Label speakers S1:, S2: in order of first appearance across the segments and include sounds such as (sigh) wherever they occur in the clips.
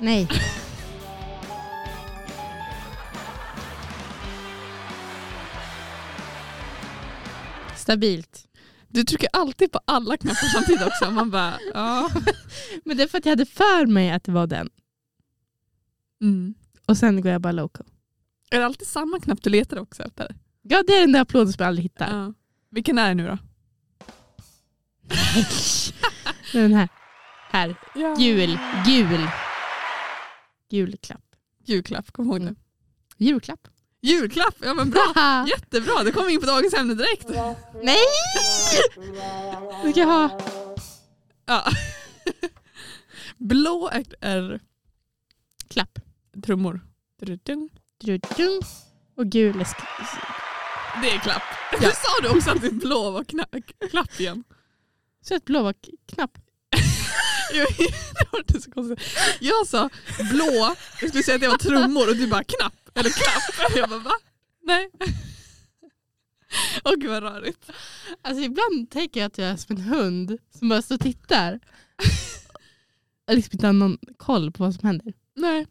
S1: Nej.
S2: Stabilt.
S3: Du trycker alltid på alla knappar
S2: (laughs)
S3: samtidigt också. Man bara, ja.
S2: Men det är för att jag hade för mig att det var den.
S3: Mm.
S2: Och sen går jag bara loco.
S3: Är det alltid samma knapp du letar också efter?
S2: Ja, det är den där applåden som jag aldrig hittar.
S3: Ja. Vilken är det nu då?
S2: Det är (laughs) Den här. Här.
S3: Ja.
S2: Jul. Gul. Julklapp.
S3: Julklapp, kom ihåg det.
S2: Mm. Julklapp.
S3: Julklapp, ja
S2: (laughs)
S3: men bra. Jättebra, det kom in på dagens ämne direkt.
S2: Nej! Nu ska jag ha.
S3: Ja. (laughs) Blå är, är
S2: Klapp.
S3: trummor. Drudun.
S2: Drudung. Och gul är sk-
S3: Det är klapp. (laughs) Du sa du också att det blå var kna- klapp igen.
S2: Så att blå var k- knapp.
S3: (laughs) Jag- det var inte så konstigt. Jag sa blå, jag skulle säga att det var trummor och du bara knapp. Eller klapp. Jag bara va? Nej. Åh gud vad rörigt.
S2: Alltså ibland tänker jag att jag är som en hund som bara står och (laughs) tittar. Jag liksom inte har någon koll på vad som händer.
S3: Nej.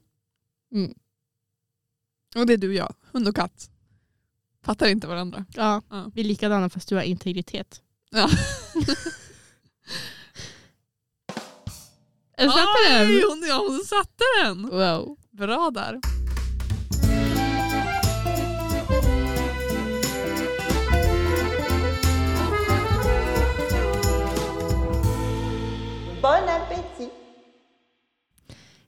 S3: Mm. Och det är du och jag, hund och katt. Fattar inte varandra.
S2: Ja,
S3: Ja.
S2: vi är likadana fast du har integritet.
S3: Ja.
S2: Är du snabb på den?
S3: Oj, hon, ja, hon satte den.
S2: Wow.
S3: Bra där.
S4: Bon appétit.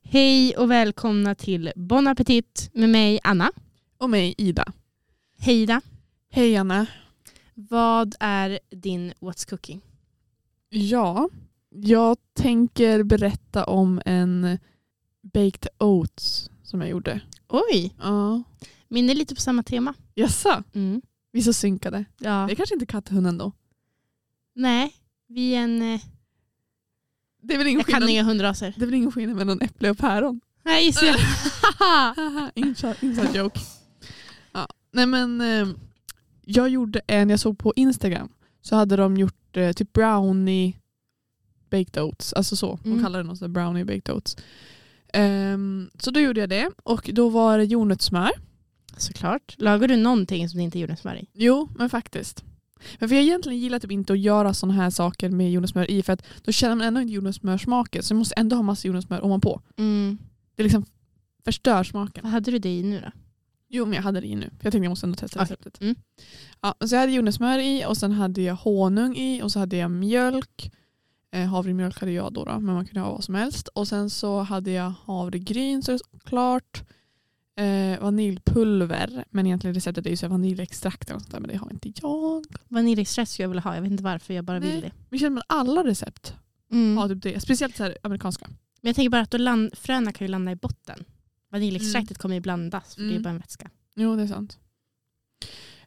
S2: Hej och välkomna till Bon Appetit med mig Anna.
S3: Och mig Ida.
S2: Hejda.
S3: Hej Anna.
S2: Vad är din What's Cooking?
S3: Ja, jag tänker berätta om en baked oats som jag gjorde.
S2: Oj,
S3: Ja.
S2: min är lite på samma tema.
S3: Jaså,
S2: Mm.
S3: vi är så synkade.
S2: Ja.
S3: Det är kanske inte katthunden då.
S2: Nej, vi är en... eh,
S3: Det är väl ingen
S2: Jag kan
S3: skillnad,
S2: inga hundraser.
S3: det är väl ingen skillnad mellan äpple
S2: (laughs)
S3: och päron.
S2: Nej, just
S3: (laughs)
S2: det. Haha.
S3: Haha, (laughs) inside, inside joke. Ja. Nej men, eh, jag gjorde en, jag såg på Instagram, så hade de gjort eh, typ brownie baked oats. Alltså så, de
S2: Mm.
S3: kallar det något sånt där brownie baked oats. Ehm, så då gjorde jag det och då var det jordnötssmör.
S2: Såklart. Lagar du någonting som det inte är jordnötssmör i?
S3: Jo, men faktiskt. Men för jag egentligen gillar typ inte att göra sådana här saker med jordnötssmör i för att då känner man ändå inte jordnötssmörsmaken så man måste ändå ha massa jordnötssmör ovanpå. Det liksom förstör smaken.
S2: Vad hade du det i nu då?
S3: Jo men jag hade det i nu. För jag tänkte jag måste ändå testa
S2: Okej.
S3: receptet.
S2: Mm.
S3: Ja, så jag hade jordnötssmör i och sen hade jag honung i och så hade jag mjölk. Eh, havremjölk hade jag då, då men man kunde ha vad som helst. Och sen så hade jag havregryn såklart. Eh, vaniljpulver, men egentligen receptet är ju så här vaniljextrakt eller något sånt där, men det har inte jag.
S2: Vaniljextrakt skulle jag vilja ha. Jag vet inte varför, jag bara
S3: Nej.
S2: vill det.
S3: Men känner man alla recept
S2: Mm.
S3: har typ det. Speciellt så här amerikanska.
S2: Men jag tänker bara att då land, fröna kan ju landa i botten. Vaniljextraktet kommer ju blandas för det är
S3: Mm.
S2: bara en vätska.
S3: Jo, det är sant.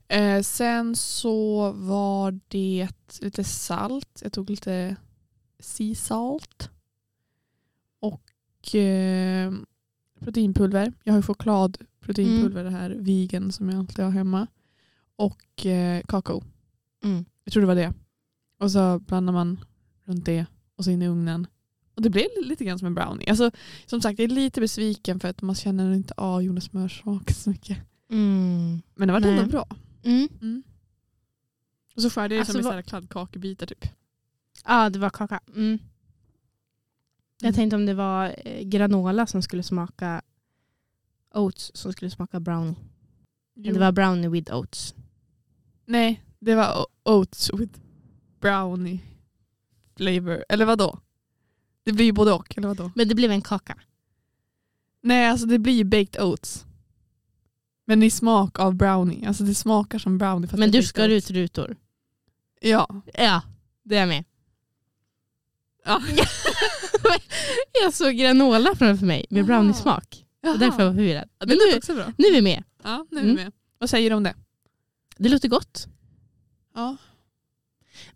S3: Eh, sen så var det lite salt. Jag tog lite sea salt. Och eh, proteinpulver. Jag har ju chokladproteinpulver, det här vegan som jag alltid har hemma. Och eh, kakao.
S2: Mm.
S3: Jag tror det var det. Och så blandar man runt det och så in i ugnen. Och det blev lite grann som en brownie. Alltså, som sagt, jag är lite besviken för att man känner inte av jordnötssmörsmak så mycket.
S2: Mm.
S3: Men det var
S2: Nej.
S3: ändå bra.
S2: Mm.
S3: Och så skärde jag det
S2: Alltså,
S3: som i
S2: vad-
S3: så här kladdkakebitar typ.
S2: Ja, det var kaka. Mm.
S3: Mm.
S2: Jag tänkte om det var eh, granola som skulle smaka oats som skulle smaka brownie. Men det var brownie with oats.
S3: Nej, det var o- oats with brownie flavor. Eller vad då? Det blir ju både och, eller vad då?
S2: Men det blev en kaka.
S3: Nej, alltså det blir ju baked oats. Men i smak av brownie. Alltså det smakar som brownie. fast
S2: Men
S3: det
S2: du
S3: är baked
S2: skar
S3: oats.
S2: ut rutor.
S3: Ja.
S2: Ja, det är jag med.
S3: ja.
S2: (laughs) Jag såg granola framför mig med
S3: Ah.
S2: brownie-smak.
S3: Jaha.
S2: Och därför var jag förvirrad.
S3: Ja,
S2: Men
S3: det låter
S2: nu,
S3: också bra.
S2: nu är vi med.
S3: Ja, nu är vi
S2: Mm.
S3: med. Vad säger du om det?
S2: Det låter gott.
S3: Ja.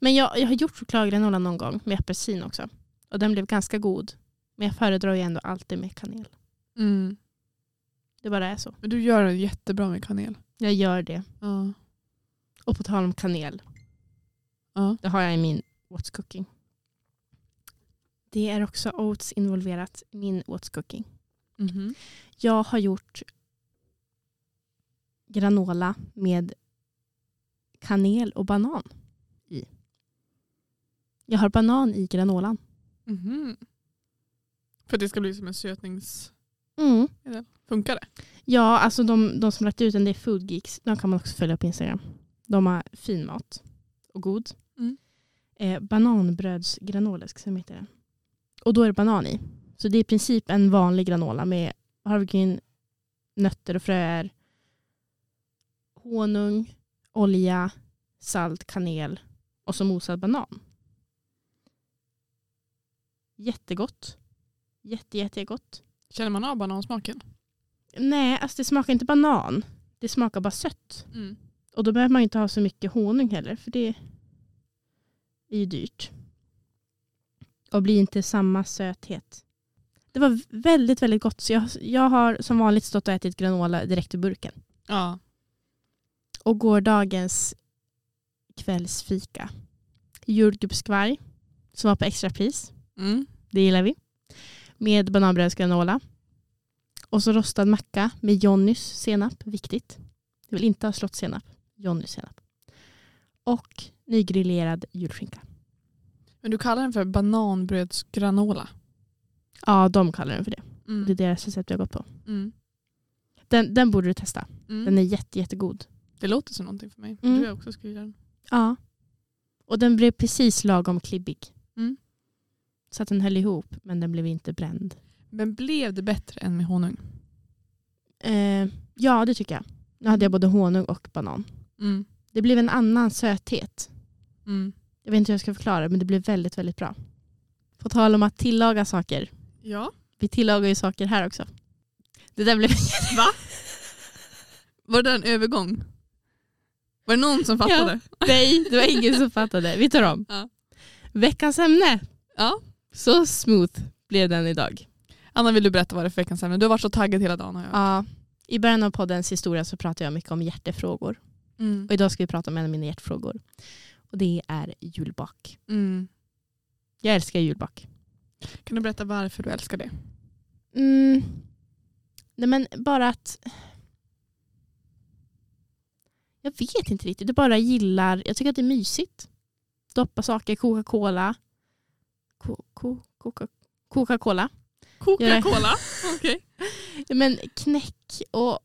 S2: Men jag, jag har gjort chokladgranola någon gång med apelsin också. Och den blev ganska god. Men jag föredrar ju ändå alltid med kanel.
S3: Mm.
S2: Det bara är så.
S3: Men du gör det jättebra med kanel.
S2: Jag gör det.
S3: Ja.
S2: Och på tal om kanel.
S3: Ja.
S2: Det har jag i min What's Cooking. Det är också oats involverat i min oatscooking.
S3: Mhm.
S2: Jag har gjort granola med kanel och banan i. Jag har banan i granolan.
S3: Mhm. För att det ska bli som en sötnings...
S2: Mm.
S3: Funkar det?
S2: Ja, alltså de, de som lagt ut den det är Food Geeks. De kan man också följa på Instagram. De har fin mat och god.
S3: Mm.
S2: Eh, bananbrödsgranola ska jag heter den. Och då är det banan i. Så det är i princip en vanlig granola med havregryn, nötter och fröer, honung, olja, salt, kanel och så mosad banan. Jättegott. Jätte, jättegott.
S3: Känner man av banansmaken?
S2: Nej, alltså det smakar inte banan. Det smakar bara sött.
S3: Mm.
S2: Och då behöver man ju inte ha så mycket honung heller, för det är ju dyrt. Och blir inte samma söthet. Det var väldigt, väldigt gott. Så jag, jag har som vanligt stått och ätit granola direkt ur burken.
S3: Ja.
S2: Och gårdagens kvällsfika. Jordgubbskvarg, som var på extrapris.
S3: Mm.
S2: Det gillar vi. Med bananbrödsgranola. Och så rostad macka med Johnnys senap. Viktigt. Jag vill inte ha slottssenap. Johnnys senap. Och nygrillerad julskinka.
S3: Men du kallar den för bananbrödsgranola?
S2: Ja, de kallar den för det. Det är
S3: Mm.
S2: deras recept jag har gått på.
S3: Mm.
S2: Den, den borde du testa.
S3: Mm.
S2: Den är jätte, jättegod.
S3: Det låter som någonting för mig.
S2: Mm.
S3: Du har också skrivit den.
S2: Ja. Och den blev precis lagom klibbig.
S3: Mm.
S2: Så att den höll ihop, men den blev inte bränd.
S3: Men blev det bättre än med honung?
S2: Eh, ja, det tycker jag. Nu hade jag både honung och banan.
S3: Mm.
S2: Det blev en annan söthet.
S3: Mm.
S2: Jag vet inte hur jag ska förklara men det blev väldigt, väldigt bra. På tal om att tillaga saker.
S3: Ja.
S2: Vi tillagar ju saker här också. Det där blev...
S3: Va? Var det där en övergång? Var det någon (laughs) som fattade?
S2: Nej, det var ingen som fattade. Vi tar om.
S3: Ja.
S2: Veckans ämne.
S3: Ja.
S2: Så smooth blev den idag.
S3: Anna vill du berätta vad det är för veckans ämne? Du har varit så taggad hela dagen. Har jag.
S2: Ja. I början av poddens historia så pratar jag mycket om hjärtefrågor.
S3: Mm.
S2: Och idag ska vi prata om en av mina hjärtefrågor. Och det är julbak.
S3: Mm.
S2: Jag älskar julbak.
S3: Kan du berätta varför du älskar det?
S2: Mm. Nej men bara att jag vet inte riktigt. Jag bara gillar, jag tycker att det är mysigt. Doppa saker, i Coca-Cola. Ko- ko- Coca- Coca-Cola.
S3: Coca-Cola. (laughs) Okej.
S2: Men knäck och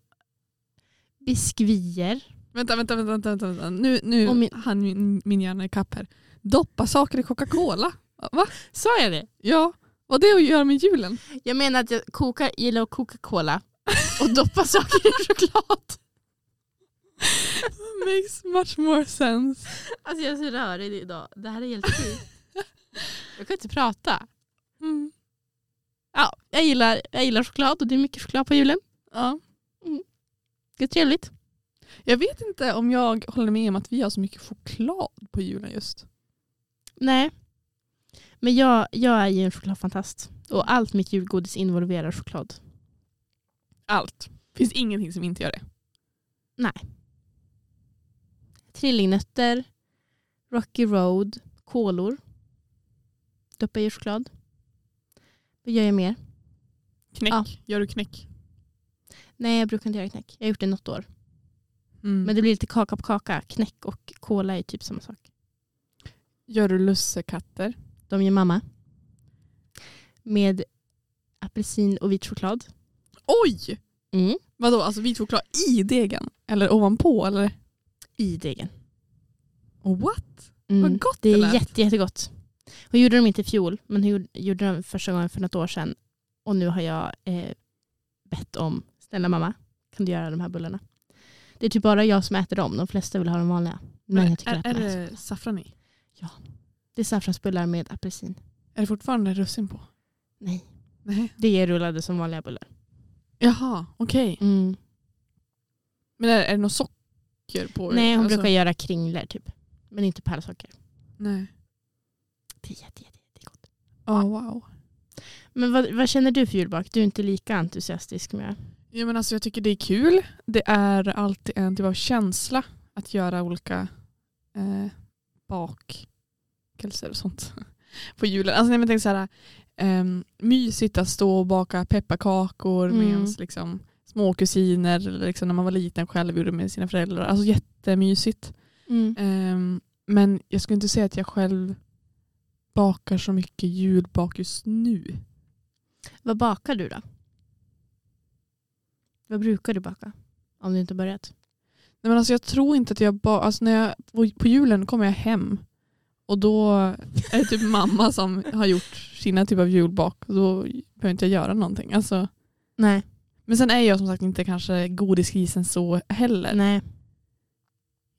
S2: biskvier.
S3: Vänta, vänta, vänta. vänta, vänta, vänta. Nu, nu
S2: Och min-
S3: hann min, min hjärna ikapp här. Doppa saker i Coca-Cola? Va?
S2: Sa jag det?
S3: Ja. Vad det att göra med julen?
S2: Jag menar att jag kokar, gillar Coca-Cola och doppa saker i choklad.
S3: (laughs) Makes much more sense.
S2: Alltså jag är så rörig idag. Det här är helt sjukt. (laughs) Jag kan inte prata.
S3: Mm.
S2: Ja, jag gillar, jag gillar choklad och det är mycket choklad på julen.
S3: Ja.
S2: Det är trevligt.
S3: Jag vet inte om jag håller med om att vi har så mycket choklad på julen just.
S2: Nej. Men jag, jag är ju en chokladfantast. Och allt mitt julgodis involverar choklad.
S3: Allt. finns ingenting som inte gör det.
S2: Trillingnötter, Rocky Road, kolor. Doppa i choklad. Vad gör jag mer?
S3: Knäck.
S2: Ja.
S3: Gör du knäck?
S2: Nej, jag brukar inte göra knäck. Jag har gjort det något år.
S3: Mm.
S2: Men det blir lite kaka på kaka. Knäck och kola är typ samma sak.
S3: Gör du lussekatter?
S2: De gör mamma. Med apelsin och vit choklad.
S3: Oj!
S2: Mm.
S3: Vadå, alltså vit choklad i degen? Eller ovanpå? Eller?
S2: I degen.
S3: Oh, What?
S2: Mm.
S3: Vad gott
S2: Det
S3: det
S2: är
S3: lät.
S2: jätte, jättegott. Hon gjorde dem inte i fjol, men hon gjorde- gjorde dem första gången för något år sedan. Och nu har jag eh, bett om, snälla mamma, kan du göra de här bullarna? Det är typ bara jag som äter dem, de flesta vill ha de vanliga. Men, jag tycker att
S3: är, är
S2: de här-
S3: det saffran i?
S2: det är saffransbullar med apelsin.
S3: Är det fortfarande russin på?
S2: Nej,
S3: Nej.
S2: det är rullade som vanliga bullar.
S3: Jaha, okej.
S2: Mm.
S3: Men är, är det något socker på?
S2: Nej, hon
S3: Alltså-
S2: brukar göra kringlor typ. Men inte pärlsocker.
S3: Nej.
S2: Det är jätte, jätte, jättegott.
S3: Ja, wow.
S2: Men vad, vad känner du för julbak? Du är inte lika entusiastisk med
S3: Ja, men alltså, jag tycker det är kul. Det är alltid en typ av känsla att göra olika (laughs) eh, bakelser och sånt på julen. Alltså, nej, men tänk så här, ehm, mysigt att stå och baka pepparkakor med
S2: Mm.
S3: ens liksom, små kusiner eller liksom, när man var liten själv gjorde med sina föräldrar. Alltså jättemysigt.
S2: Mm.
S3: Ehm, men jag skulle inte säga att jag själv bakar så mycket julbak just nu.
S2: Vad bakar du då? Vad brukar du baka? Om du inte börjat.
S3: Nej, men alltså jag tror inte att jag bara, alltså när jag, på- på julen kommer jag hem och då (laughs) är det typ mamma som har gjort sina typ av julbak. Då behöver inte jag göra någonting. Alltså,
S2: Nej.
S3: men sen är jag som sagt inte kanske godisgrisen så heller.
S2: Nej.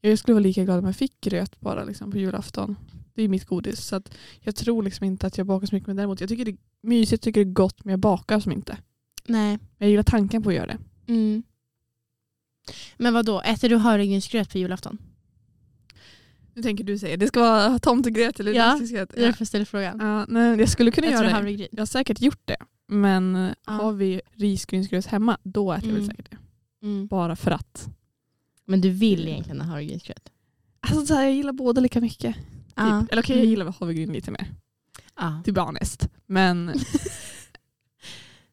S3: Jag skulle vara lika glad om jag fick gröt bara liksom, på julafton. Det är ju mitt godis. Så att jag tror liksom inte att jag bakar så mycket. Men däremot jag tycker det är mysigt, tycker det är gott men jag bakar som inte.
S2: Nej.
S3: Men jag gillar tanken på att göra det.
S2: Mm. Men vad då? äter du havregrynsgröt på julafton?
S3: Nu tänker du säga det ska vara tomtegröt eller
S2: Ja,
S3: risgrynsgröt.
S2: Det är därför jag ställer frågan.
S3: Ja, nej, jag skulle kunna
S2: äter
S3: göra
S2: du
S3: det.
S2: havregryn?
S3: Jag har säkert gjort det. Men
S2: Ja.
S3: har vi risgrynsgröt hemma, då äter jag väl
S2: Mm.
S3: säkert det.
S2: Mm.
S3: Bara för att.
S2: Men du vill egentligen ha havregrynsgröt?
S3: Alltså så här, jag gillar båda lika mycket. Typ.
S2: Ja.
S3: Eller okej, jag
S2: Mm.
S3: gillar havregryn lite mer.
S2: Ja.
S3: Typ honest.
S2: (laughs)
S3: Men...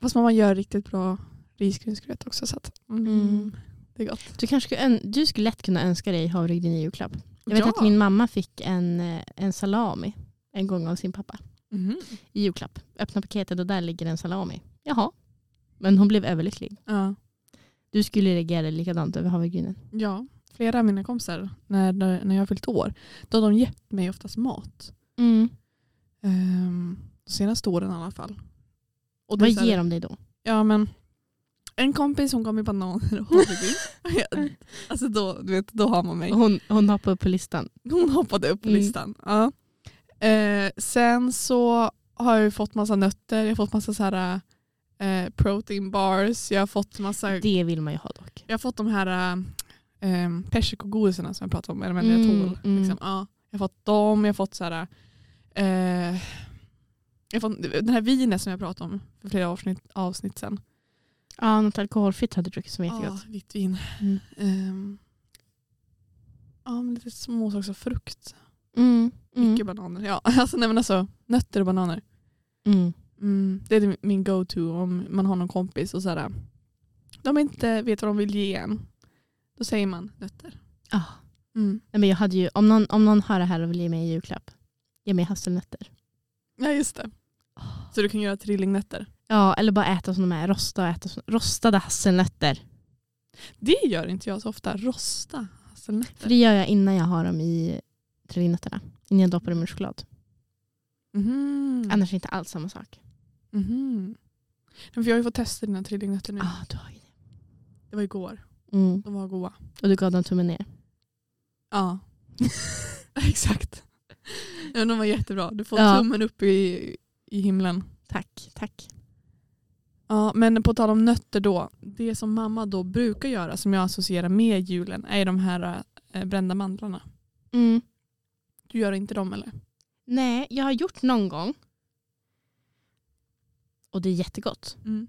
S3: Fast mamma gör riktigt bra risgrynsgröt också. Så att, mm,
S2: Mm.
S3: Det är gott.
S2: Du, kanske skulle, ön- du skulle lätt kunna önska dig havregryn i julklapp. Jag vet
S3: Ja.
S2: att min mamma fick en, eh, en salami en gång av sin pappa
S3: Mhm.
S2: i julklapp. Öppna paketet och där ligger en salami. Jaha. Men hon blev överlycklig.
S3: Ja.
S2: Du skulle reagera likadant över havregrynen.
S3: ja, flera av mina kompisar när, när när jag har fyllt år, då har de gett mig oftast mat.
S2: Mm.
S3: Um, senaste åren i alla fall. Och det
S2: Vad
S3: är så här-
S2: ger de dig då?
S3: Ja men en kompis hon gav mig (laughs) bananer och havregryn.
S2: (laughs)
S3: Jag- alltså då, du vet, då har man mig.
S2: Hon, hon hoppar upp på listan.
S3: Hon hoppade upp på
S2: Mm.
S3: listan. Ja. Eh, sen så har jag ju fått massa nötter, jag har fått massa så här, eh, protein bars, jag har fått massa,
S2: Det vill man ju ha dock.
S3: jag har fått de här eh, eh, persikogodisarna som jag pratade om, eller men
S2: Mm,
S3: jag tål.
S2: mm.
S3: Liksom. Ja, jag har fått dem, jag har fått så här, eh, jag har fått den här vinet som jag pratade om för flera avsnitt, avsnitt sen.
S2: Ja, något alkoholfritt hade du druckit som är jättegott.
S3: Ja, vitt vin.
S2: Mm.
S3: Ehm, ja, men lite småsaker som frukt.
S2: Mm. Mm.
S3: Mycket bananer. Ja, (laughs) alltså, nej, men alltså, nötter och bananer.
S2: Mm.
S3: Mm, det är min go-to om man har någon kompis och sådär. De inte vet vad de vill ge en. Då säger man nötter.
S2: Ja.
S3: Mm.
S2: Nej, men jag hade ju, om, någon, om någon hör det här och vill ge mig en julklapp, ge mig hasselnötter.
S3: Ja, just det. Så du kan göra trillingnötter.
S2: Ja, eller bara äta som de är. Rosta och äta som, rostade hasselnötter.
S3: Det gör inte jag så ofta. Rosta alltså,
S2: För
S3: hasselnötter.
S2: det gör jag innan jag har dem i trillingnötterna. Innan jag doppar dem i choklad.
S3: Mhm.
S2: Annars är det inte alls samma sak.
S3: Mhm. Nej, För jag har ju fått testa dina trillingnötter nu.
S2: Ja, Ah, du har ju det.
S3: Det var igår.
S2: Mm.
S3: De var goda.
S2: Och du gav dem tummen ner.
S3: Ja, (laughs) exakt. Ja, de var jättebra. Du får
S2: Ja.
S3: tummen upp i, i himlen.
S2: Tack, tack.
S3: Ja, men på tal om nötter då. Det som mamma då brukar göra som jag associerar med julen är de här eh, brända mandlarna.
S2: Mm.
S3: Du gör inte dem eller?
S2: Nej, jag har gjort någon gång. Och det är jättegott.
S3: Mm.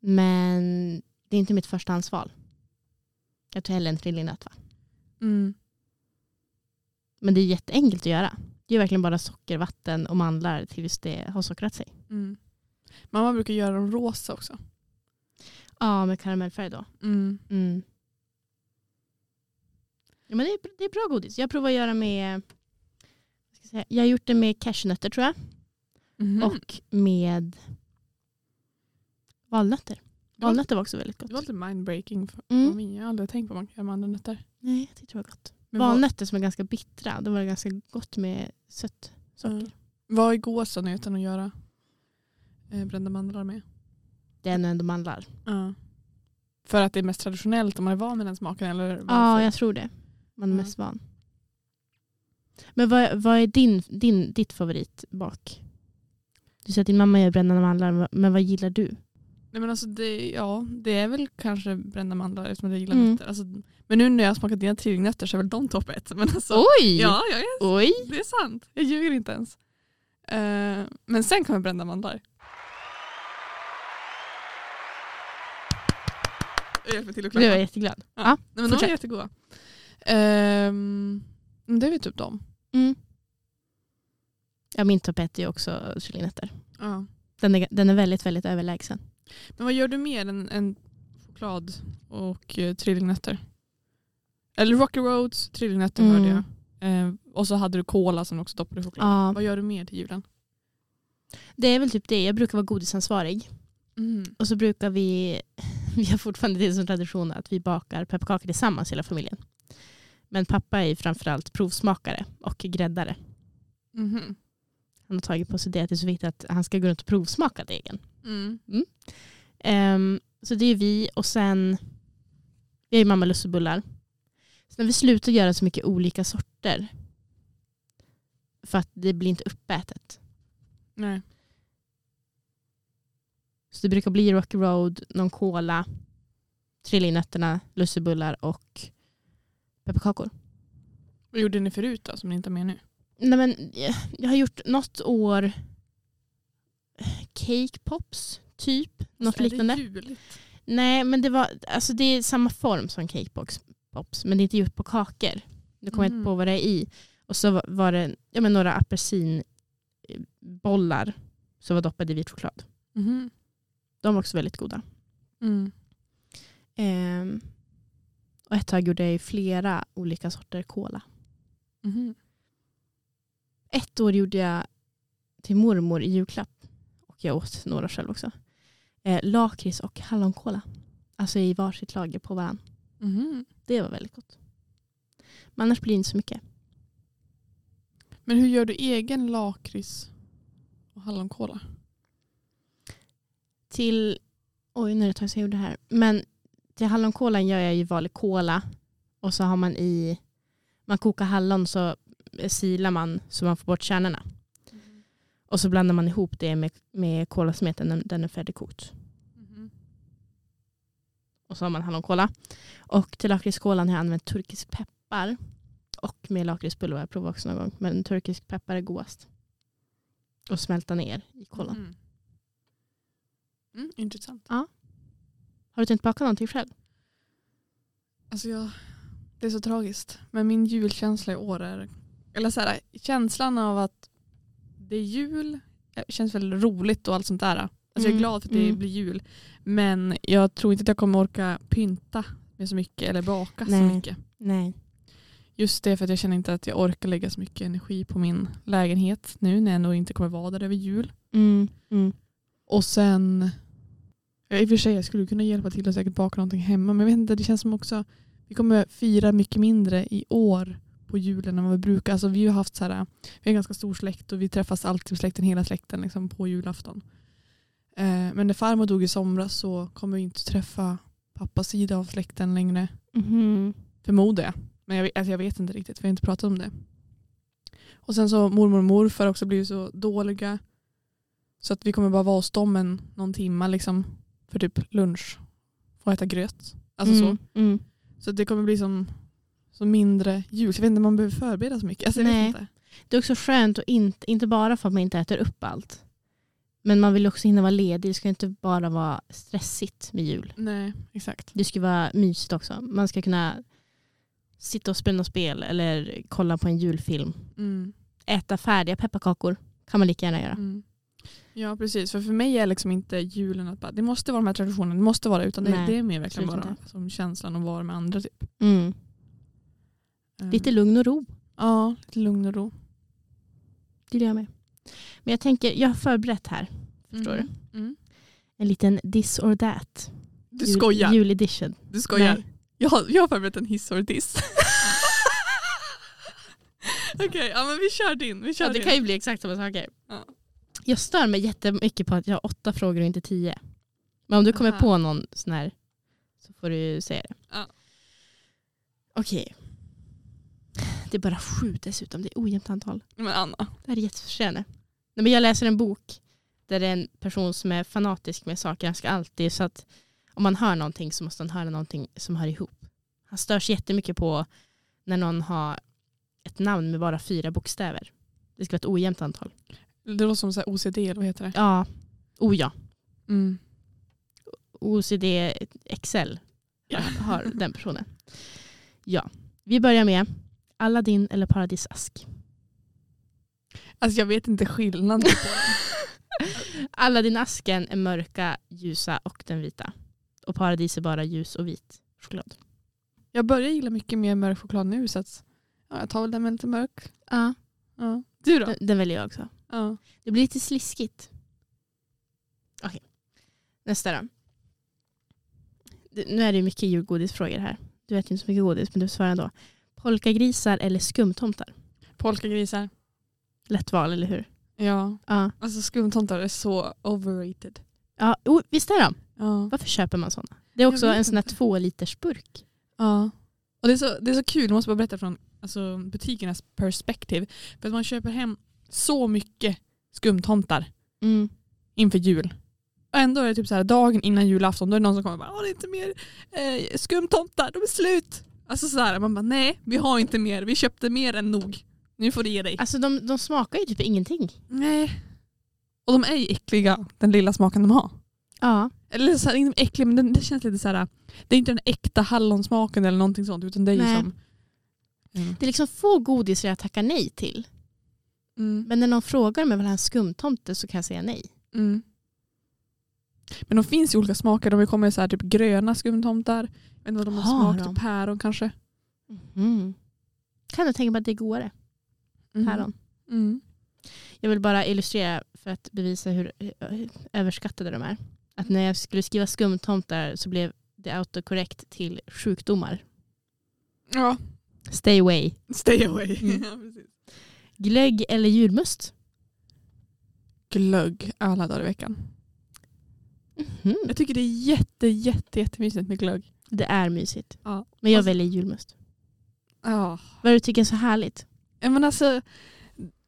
S2: Men det är inte mitt förstahandsval. Jag tar hellre en trillingnöt va?
S3: Mm.
S2: Men det är jätteenkelt att göra. Det är verkligen bara socker, vatten och mandlar tills det har sockrat sig.
S3: Mm. Mamma brukar göra dem rosa också.
S2: Ja, med karamellfärg då.
S3: Mm.
S2: Mm. Ja, men det, är, det är bra godis. Jag provar att göra med... Vad ska jag, säga, jag har gjort det med cashewnötter tror jag.
S3: Och
S2: Och med valnötter. Valnötter var också väldigt
S3: det var
S2: gott.
S3: lite mindbreaking för
S2: Mm.
S3: för mig. Jag har aldrig tänkt på vad man kan göra med andra nötter.
S2: Nej, jag tyckte det var gott.
S3: Men vad-
S2: Valnötter som är ganska bittra. Då var det ganska gott med sött socker.
S3: Ja. Vad är gåsanöten att göra eh, brända mandlar med?
S2: Det är nog ändå mandlar.
S3: Ja. För att det är mest traditionellt om man är van med den smaken? Eller
S2: Ja,
S3: varför?
S2: jag tror det. Man är
S3: Ja.
S2: mest van. Men vad, vad är din, din, ditt favoritbak? Du säger att din mamma gör brända mandlar, men vad gillar du?
S3: Nej, men alltså det, ja, det är väl kanske brända mandlar eftersom jag gillar
S2: Mm.
S3: nötter. Alltså, men nu när jag har smakat dina trillingnötter så är väl de topp ett. (laughs) Men alltså,
S2: Oj!
S3: ja, jag är,
S2: Oj!
S3: det är sant. Jag ljuger inte ens. Eh, men sen kommer brända mandlar. Jag hjälper till att
S2: Nu är jag
S3: klappa.
S2: jätteglad.
S3: Ja.
S2: Ja,
S3: Nej, men de är
S2: fortsätt.
S3: jättegoda. Ehm, det är väl typ de.
S2: Mm. Ja, min toppett är också kylingnötter.
S3: Ja.
S2: Den är, den är väldigt, väldigt överlägsen.
S3: Men vad gör du mer än, än choklad och eh, trillingnötter? Eller Rocky Roads, trillingnötter hörde jag. Eh, och så hade du cola som också doppade i choklad.
S2: Mm. Ja,
S3: Vad gör du mer till julen?
S2: det är väl typ det. Jag brukar vara godisansvarig. Och så brukar vi, (laughs) vi har fortfarande det som tradition att vi bakar pepparkakor tillsammans hela familjen. Men pappa är framförallt provsmakare och gräddare.
S3: Mhm.
S2: Han har tagit på sig det att det är så viktigt att han ska gå runt och provsmaka degen.
S3: Mm.
S2: Ehm, så det är vi och sen, vi har ju mamma lussebullar. Sen har vi slutat göra så mycket olika sorter. För att det blir inte uppätet.
S3: Nej.
S2: Så det brukar bli Rocky Road, någon cola, trillingnötterna, lussebullar och pepparkakor.
S3: Vad gjorde ni förut då som ni inte har med nu?
S2: Nej men eh, jag har gjort något år eh, cake pops typ. Något
S3: Är
S2: liknande.
S3: Det juligt?
S2: Nej, men det var alltså det är samma form som cakebox pops, men det är inte gjort på kakor. Nu kommer jag
S3: Mhm.
S2: inte på vad det är i. Och så var- var det ja, men några apelsinbollar som var doppade i vit choklad.
S3: Mhm.
S2: De var också väldigt goda.
S3: Mm.
S2: Ehm, och ett tag gjorde jag ju flera olika sorter cola.
S3: Mhm.
S2: Ett år gjorde jag till mormor i julklapp. Och jag åt några själv också. Eh, Lakrits och hallonkola. Alltså i varsitt lager på varandra.
S3: Mhm.
S2: Det var väldigt gott. Men annars blir det inte så mycket.
S3: Men hur gör du egen lakrits och hallonkola?
S2: Till, oj nu är det ett tag sedan jag gjorde det här. Men till hallonkolan gör jag ju vanlig kola. Och så har man i, man kokar hallon så silar man så man får bort kärnorna. Och så blandar man ihop det med, med kolasmeten när den är färdigkokt.
S3: Mhm.
S2: Och så har man hallonkola. Och till lakritskolan har jag använt turkisk peppar. Och med lakritsbulle har jag provat också någon gång. Men turkisk peppar är godast. Och smälta ner i kolan.
S3: Mm. Mm, intressant.
S2: Har du tänkt baka någonting själv?
S3: Alltså jag, det är så tragiskt. Men min julkänsla i år är... Eller så här, känslan av att det är jul eh, känns väldigt roligt och allt sånt där. Alltså jag är
S2: Mm,
S3: glad för att det
S2: mm.
S3: blir jul. Men jag tror inte att jag kommer orka pynta med så mycket eller baka
S2: Nej.
S3: så mycket.
S2: Nej.
S3: Just det för att jag känner inte att jag orkar lägga så mycket energi på min lägenhet nu när jag nog inte kommer vara där över jul.
S2: Mm, mm.
S3: Och sen, ja, i och för sig jag skulle kunna hjälpa till och säkert baka någonting hemma men jag vet inte, det känns som också vi kommer fira mycket mindre i år på julen än vad vi brukar. Alltså vi har haft så här, vi har en ganska stor släkt och vi träffas alltid med släkten, hela släkten liksom på julafton. Eh, men när farmor dog i somras så kommer vi inte träffa pappas sida av släkten längre.
S2: Mhm.
S3: Förmodar jag. Men jag vet, alltså jag vet inte riktigt för jag har inte pratat om det. Och sen så mormor och morfar har också blivit så dåliga. Så att vi kommer bara vara hos dem en, någon timma liksom. För typ lunch. Få äta gröt. Alltså så.
S2: Mm, mm.
S3: Så att det kommer bli som, som mindre jul. Så jag vet inte om man behöver förbereda så mycket. Alltså jag
S2: Nej.
S3: vet inte.
S2: Det är också skönt, och inte, inte bara för att man inte äter upp allt. Men man vill också hinna vara ledig. Det ska inte bara vara stressigt med jul.
S3: Nej, exakt.
S2: Det ska vara mysigt också. Man ska kunna sitta och spela något spel eller kolla på en julfilm.
S3: Mm.
S2: Äta färdiga pepparkakor kan man lika gärna göra.
S3: Mm. Ja precis, för för mig är liksom inte julen att bara, det måste vara de här traditionerna, det måste vara det, utan det,
S2: Nej,
S3: det är mer verkligen
S2: absolut
S3: bara
S2: inte.
S3: som känslan att vara med andra. Typ.
S2: Mm.
S3: Mm.
S2: Lite lugn och ro.
S3: Ja, lite lugn och ro.
S2: Det gör jag med. Men jag tänker, jag har förberett här. Förstår
S3: du? Mm.
S2: En liten this or that.
S3: Du
S2: Jul-
S3: skojar.
S2: Jul edition.
S3: Du skojar.
S2: Nej.
S3: Jag, har, jag har förberett en hiss och en diss. (laughs) Okej, ja, men vi kör din. Vi kör
S2: Ja, det
S3: din.
S2: kan ju bli exakt samma saker.
S3: Ja.
S2: Jag stör mig jättemycket på att jag har åtta frågor och inte tio. Men om du kommer
S3: Aha.
S2: på någon sån här så får du ju säga det.
S3: Ja.
S2: Okej. Det är bara sju dessutom, det är ojämnt antal.
S3: Men Anna.
S2: Det här är jättefrustrerande. Nej, men Jag läser en bok där det är en person som är fanatisk med saker. Han ska alltid, så att om man hör någonting så måste han höra någonting som hör ihop. Han störs jättemycket på när någon har ett namn med bara fyra bokstäver. Det ska vara ett ojämnt antal.
S3: Det låter som så här OCD, eller vad heter det?
S2: Ja, oh ja.
S3: Mm.
S2: OCD Excel har, har den personen. Ja, vi börjar med Aladdin eller Paradisask.
S3: Alltså jag vet inte (laughs) skillnaden.
S2: (laughs) Alla din asken är mörka, ljusa och den vita. Och paradis är bara ljus och vit choklad.
S3: jag börjar gilla mycket mer mörk choklad nu så att, ja, jag tar väl den med lite mörk.
S2: Ja.
S3: Ja. Du då?
S2: Den, den väljer jag också.
S3: Ja.
S2: Det blir lite sliskigt. Okej. Nästa då. Det- Nu är det ju mycket julgodisfrågor här. Du äter ju inte så mycket godis men du svarar ändå. Polkagrisar eller skumtomtar?
S3: Polkagrisar.
S2: Lätt val, eller hur?
S3: Ja.
S2: Ja.
S3: Alltså skumtomtar är så overrated.
S2: ja oh, visst är de?
S3: Ja.
S2: Varför köper man sådana? Det är också
S3: vet
S2: en sån här två liters burk.
S3: ja. Och det är, så, det är så kul, jag måste bara berätta från alltså, butikernas perspektiv. För att man köper hem så mycket skumtomtar
S2: Mm.
S3: inför jul. Och ändå är det typ så här dagen innan julafton, då är det någon som kommer och bara Åh, det är inte mer eh, skumtomtar, de är slut. Alltså så här, man bara nej, vi har inte mer, vi köpte mer än nog. Nu får du ge dig.
S2: Alltså de, de smakar ju typ ingenting.
S3: Nej. Och de är ju äckliga, den lilla smaken de har.
S2: Ja.
S3: Eller så här, inte äcklig, men den, det känns lite så här. Det är inte den äkta hallonsmaken eller någonting sånt, utan det är ju
S2: Nej.
S3: som...
S2: Det är liksom få godisar jag tackar nej till.
S3: Mm.
S2: Men när någon frågar om jag vill ha en skumtomte så kan jag säga nej.
S3: Mm. Men de finns ju olika smaker. De kommer så här, typ gröna skumtomtar. Jag vet inte vad de har,
S2: Har
S3: smak,
S2: de?
S3: typ päron kanske.
S2: Kan du tänka mig att det är godare?
S3: Mm.
S2: Päron.
S3: Mm.
S2: Jag vill bara illustrera för att bevisa hur eh, överskattade de är. Att när jag skulle skriva skumtomtar så blev det autokorrekt till sjukdomar.
S3: Ja,
S2: Stay away.
S3: stay away.
S2: Mm.
S3: (laughs) Ja, precis.
S2: Glögg eller julmust?
S3: glögg alla dagar i veckan.
S2: Mhm.
S3: Jag tycker det är jätte, jätte, jättemysigt med glögg.
S2: Det är mysigt.
S3: Ja.
S2: Men jag
S3: Alltså-
S2: väljer julmust.
S3: Ja.
S2: Vad du tycker är så härligt?
S3: Men alltså,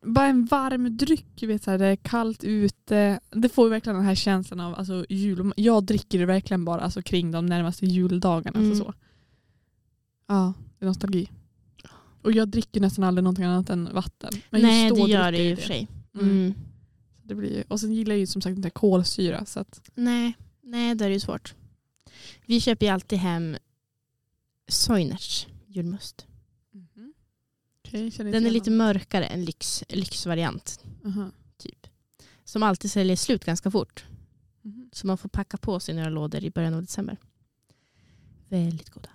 S3: bara en varm dryck, vet så här, det är kallt ute. Det får ju verkligen den här känslan av alltså, jul. Jag dricker det verkligen bara alltså, kring de närmaste juldagarna.
S2: Mm.
S3: Alltså, så. Ja, det är nostalgi. Och jag dricker nästan aldrig någonting annat än vatten. Men just
S2: Nej,
S3: då
S2: det gör
S3: dricker
S2: det
S3: jag
S2: ju i och för sig.
S3: Mm.
S2: Mm.
S3: Det blir, ju- och sen gillar jag ju som sagt inte kolsyra. Så att,
S2: Nej, nej, då är det ju svårt. Vi köper ju alltid hem Soinerts julmust.
S3: Okej, jag känner inte
S2: Mhm. Den är
S3: igen
S2: lite
S3: dem.
S2: mörkare, en lyx, lyxvariant.
S3: Aha.
S2: typ. Som alltid säljer slut ganska fort.
S3: Mhm.
S2: Så man får packa på sig några lådor i början av december. Väldigt goda.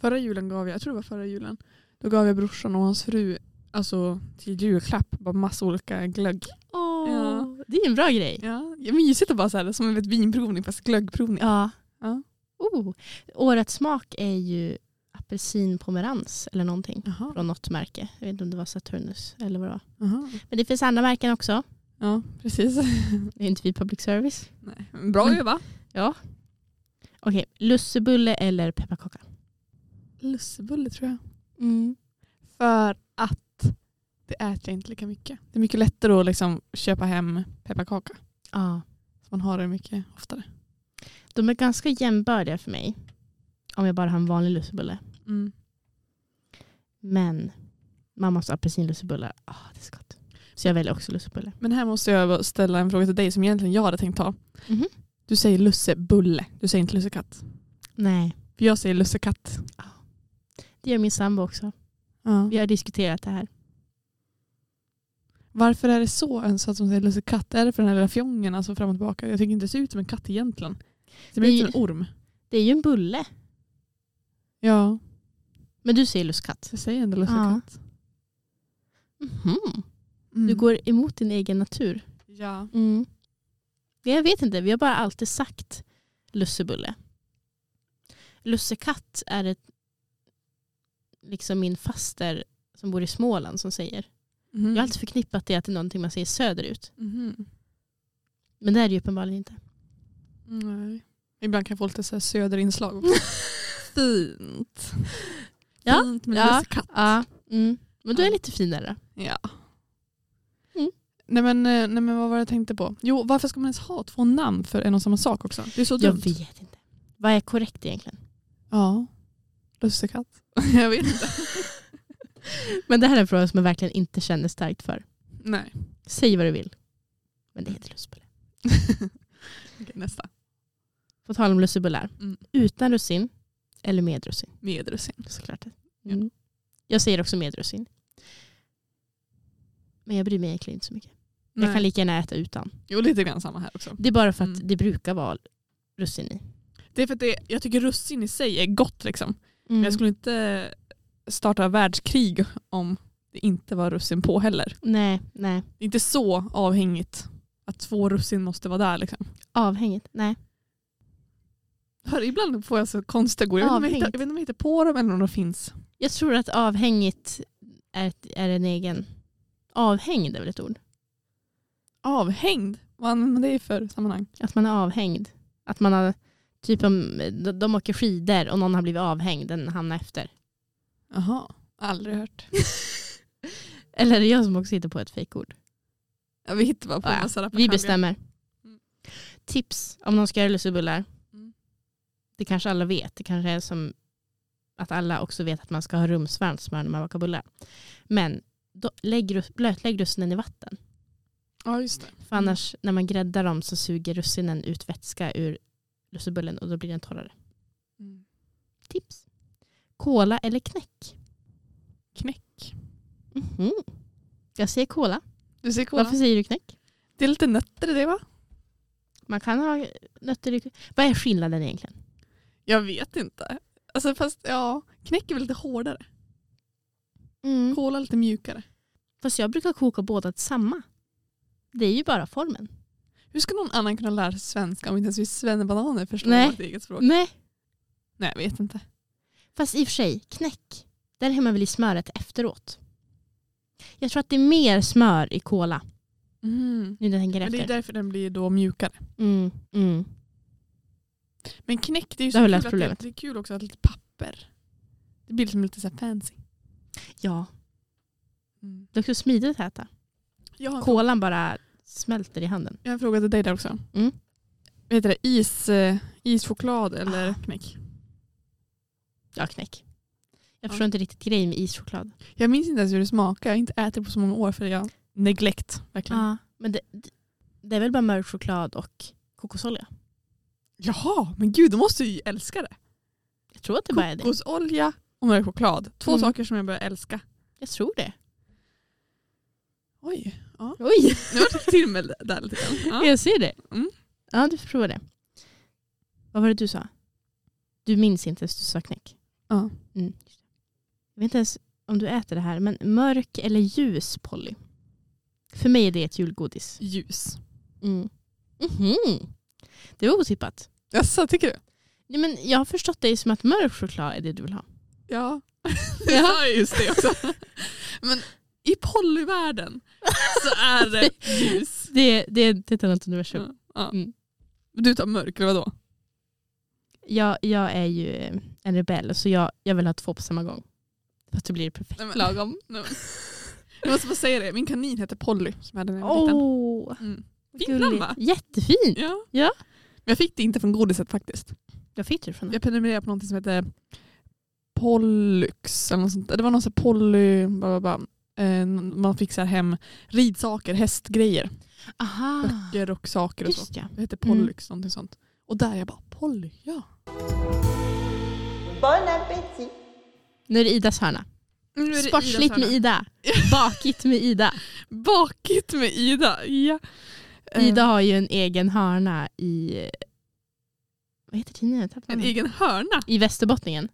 S3: Förra julen gav jag, jag tror det var förra julen, då gav jag brorsan och hans fru alltså, till julklapp bara massa olika glögg.
S2: Åh,
S3: Ja.
S2: Det är en bra grej.
S3: Ja, jag mysigt att bara så här, som en vinprovning fast glöggprovning.
S2: Ja.
S3: Ja.
S2: Oh. Årets smak är ju apelsinpomerans eller någonting. Från något märke. Jag vet inte om det var Saturnus eller vad det var. Men det finns andra märken också.
S3: Ja, precis. (laughs)
S2: Det är inte vi public service.
S3: Nej. Bra jobbat.
S2: Okej, lussebulle eller pepparkaka?
S3: Lussebulle tror jag.
S2: Mm.
S3: För att det äter jag inte lika mycket. Det är mycket lättare att liksom köpa hem pepparkaka.
S2: Ja.
S3: Så man har det mycket oftare.
S2: De är ganska jämbördiga för mig. Om jag bara har en vanlig lussebulle.
S3: Mm.
S2: Men mammas apelsinlussebullar, ah det är så gott. Så jag väljer också lussebulle.
S3: Men här måste jag bara ställa en fråga till dig som egentligen jag hade tänkt ta.
S2: Mhm.
S3: Du säger lussebulle, du säger inte lussekatt.
S2: Nej,
S3: För jag säger lussekatt.
S2: det gör min sambo också. Vi har diskuterat det här.
S3: Varför är det så ens att de säger lussekatt? Är det för den här lilla fjongen alltså fram och tillbaka? Jag tycker inte det ser ut som en katt egentligen. Det blir
S2: Det-
S3: ut som en orm.
S2: Det är ju en bulle.
S3: Ja,
S2: Men du säger lusskatt.
S3: jag säger ändå lussekatt.
S2: Mhm.
S3: Mm.
S2: Du går emot din egen natur.
S3: Ja.
S2: Ja, Mm. Jag vet inte, vi har bara alltid sagt lussebulle. Lussekatt är ett, liksom min faster som bor i Småland som säger.
S3: Mhm.
S2: Jag har alltid förknippat det till någonting man säger söderut.
S3: Mhm.
S2: Men det är det ju uppenbarligen inte.
S3: Nej. Ibland kan jag få lite så här söderinslag också. Fint.
S2: (laughs) Ja,
S3: Fint (laughs) med
S2: ja.
S3: lussekatt.
S2: Ja, mm. men du är
S3: Ja.
S2: lite finare.
S3: Ja.
S2: Mm.
S3: Nej, men, eh, nej men vad var det jag tänkte på? Jo, varför ska man ens ha två namn för en och samma sak också? Det är så
S2: Jag
S3: dumt.
S2: vet inte. Vad är korrekt egentligen?
S3: Ja. Lussekatt. (laughs) jag vet inte.
S2: Men det här är en fråga som jag verkligen inte känner starkt för.
S3: Nej. (laughs)
S2: Säg vad du vill. Men det heter lussebulle.
S3: Okej, nästa.
S2: På tal om lussebullar.
S3: Mm.
S2: Utan russin eller med russin?
S3: Med russin.
S2: Såklart. Mm. Jag säger också med russin. Men jag bryr mig egentligen inte så mycket.
S3: Nej.
S2: Jag kan lika gärna äta utan.
S3: Jo, lite grann samma här också.
S2: Det är bara för att
S3: Mm.
S2: det brukar vara russin i.
S3: Det är för att det, jag tycker russin i sig är gott liksom. Men jag skulle inte starta världskrig om det inte var russin på heller.
S2: Nej, nej.
S3: Det är inte så avhängigt att två russin måste vara där liksom.
S2: Avhängigt? Nej.
S3: Hör, ibland får jag så konstiga gåvor. Jag, vet inte om jag hittar-
S2: Avhängigt.
S3: jag vet inte om jag hittar på dem eller om de finns.
S2: Jag tror att avhängigt är, ett, är en egen... Avhängd är väl ett ord?
S3: Avhängd? Vad använder man det i för sammanhang?
S2: Att man är avhängd. Att man har... Typ om de, de åker skidor och någon har blivit avhängd, den hamnar
S3: (laughs)
S2: efter.
S3: Jaha, aldrig hört.
S2: Eller är det jag som också hittar på ett fejkord?
S3: Ah, Ja, vi hittar bara på
S2: Ja,
S3: en
S2: ja.
S3: massa rappakalja.
S2: Vi bestämmer.
S3: Mm.
S2: Tips om någon ska göra lussebullar.
S3: Mm.
S2: Det kanske alla vet. Det kanske är som att alla också vet att man ska ha rumsvarmt smör när man bakar bullar. Men då, lägg, rus- blötlägg russinen i vatten.
S3: Ja, just det.
S2: För annars när man gräddar dem så suger russinen ut vätska ur lussebullen och då blir den torrare.
S3: Mm.
S2: Tips. Kola eller knäck?
S3: Knäck.
S2: Mhm. Jag säger kola.
S3: Du ser kola.
S2: Varför säger du knäck?
S3: Det är lite nötter i det va?
S2: Man kan ha nötter i Vad är skillnaden egentligen?
S3: Jag vet inte. Alltså fast ja, knäck är väl lite hårdare.
S2: Mm.
S3: Kola lite mjukare.
S2: Fast jag brukar koka båda till samma. Det är ju bara formen.
S3: Hur ska någon annan kunna lära sig svenska om inte ens vi svennebananer förstår
S2: Nej.
S3: vårt eget språk?
S2: Nej.
S3: Nej, jag vet inte.
S2: Fast i och för sig, knäck. Där hämmer väl i smöret efteråt. Jag tror att det är mer smör i kola. Nu när jag tänker
S3: Men det är
S2: efter.
S3: därför den blir då mjukare.
S2: Mm, mm.
S3: Men knäck, det är ju
S2: Där har vi
S3: kul
S2: löst
S3: att det,
S2: problemet.
S3: det är kul också att ha lite papper. Det blir liksom lite så här fancy.
S2: Ja, det är också smidigt att äta.
S3: Jag, har en, fråga-
S2: Kolan bara smälter i handen.
S3: jag har en fråga till dig där också.
S2: Mm.
S3: Vad heter det? Is, eh, ischoklad eller
S2: Ah.
S3: knäck?
S2: Ja, knäck. Jag
S3: Ja.
S2: förstår inte riktigt grejen med ischoklad.
S3: Jag minns inte ens hur det smakar. Jag har inte ätit på så många år för jag
S2: Ah.
S3: neglekt. Verkligen.
S2: Ja, men det, det är väl bara mörk choklad och kokosolja.
S3: Jaha, men gud, då måste du ju älska det.
S2: Jag tror att det bara är det.
S3: Kokosolja och mörk choklad. Två
S2: Mm.
S3: saker som jag börjar älska.
S2: Jag tror det.
S3: Oj, ja.
S2: Oj,
S3: nu var det till med där lite grann. (laughs) Ja.
S2: jag ser det.
S3: Mm.
S2: Ja, du får prova det. Vad var det du sa? Du minns inte ens du sa knäck.
S3: Ja.
S2: Mm. Jag vet inte ens om du äter det här, men mörk eller ljus Polly? För mig är det ett julgodis.
S3: Ljus.
S2: Mm. Mhm. Det var otippat.
S3: Jaså, tycker du?
S2: Nej, men jag har förstått dig som att mörk choklad är det du vill ha.
S3: (laughs) Ja. Jag sa ju just det också. Men i polyvärlden så är (laughs) det ljus.
S2: Det, det, det är ett annat universum.
S3: Ja.
S2: Mm.
S3: Du tar mörk, eller vadå?
S2: Jag, jag är ju eh, en rebell, så jag, jag vill ha två på samma gång. Fast då blir det perfekt.
S3: Nej, men-
S2: Lagom.
S3: Nej, men- Jag måste bara säga det, min kanin heter Polly som jag hade när jag var liten.
S2: Åh,
S3: Mm.
S2: vad
S3: Finland,
S2: gulligt.
S3: va?
S2: Jättefint.
S3: Ja.
S2: Ja.
S3: Men jag fick det inte från godiset faktiskt.
S2: Jag fick det från
S3: Jag prenumererade på något som heter Pollux eller något sånt. Det var någon sån här poly... Bla, bla, bla. Eh, Man fick så här hem ridsaker, hästgrejer.
S2: Aha,
S3: Böcker och saker och
S2: Ah,
S3: så.
S2: just Mm. ja.
S3: Det heter Pollux, någonting sånt. Och där jag bara, Polly, ja.
S1: Bon appétit
S2: Nu är det Idas hörna. Sportsligt med
S3: (laughs)
S2: Ida. Bakigt med Ida.
S3: Bakigt med Ida. Ja. Eh,
S2: Ida har ju en egen hörna i... Vad heter tidningen? Jag tappade
S3: En
S2: den.
S3: egen hörna.
S2: I Västerbottningen.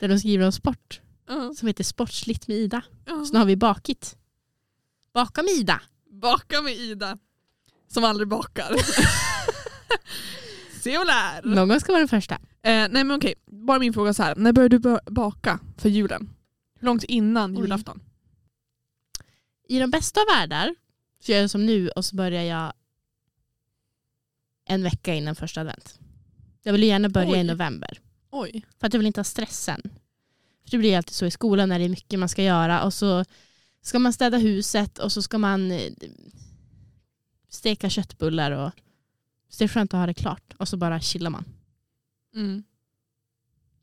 S2: Där de skriver om sport.
S3: Ja,
S2: Som heter Sportsligt med Ida.
S3: ja.
S2: Sen har vi Bakigt. Baka med Ida.
S3: Baka med Ida. Som
S2: (laughs)
S3: aldrig bakar. Se och lär.
S2: Någon ska vara den första.
S3: Eh, nej men okej, bara min fråga så här. När började du bör- baka för julen? Hur långt innan
S2: Oj.
S3: julafton?
S2: I de bästa av världar så gör jag som nu och så börjar jag en vecka innan första advent. Jag vill ju gärna börja
S3: Oj.
S2: i november.
S3: Oj.
S2: För att jag vill inte ha stressen. För det blir ju alltid så i skolan när det är mycket man ska göra och så ska man städa huset och så ska man eh, steka köttbullar och så det är skönt att ha det klart och så bara chillar man.
S3: Mm.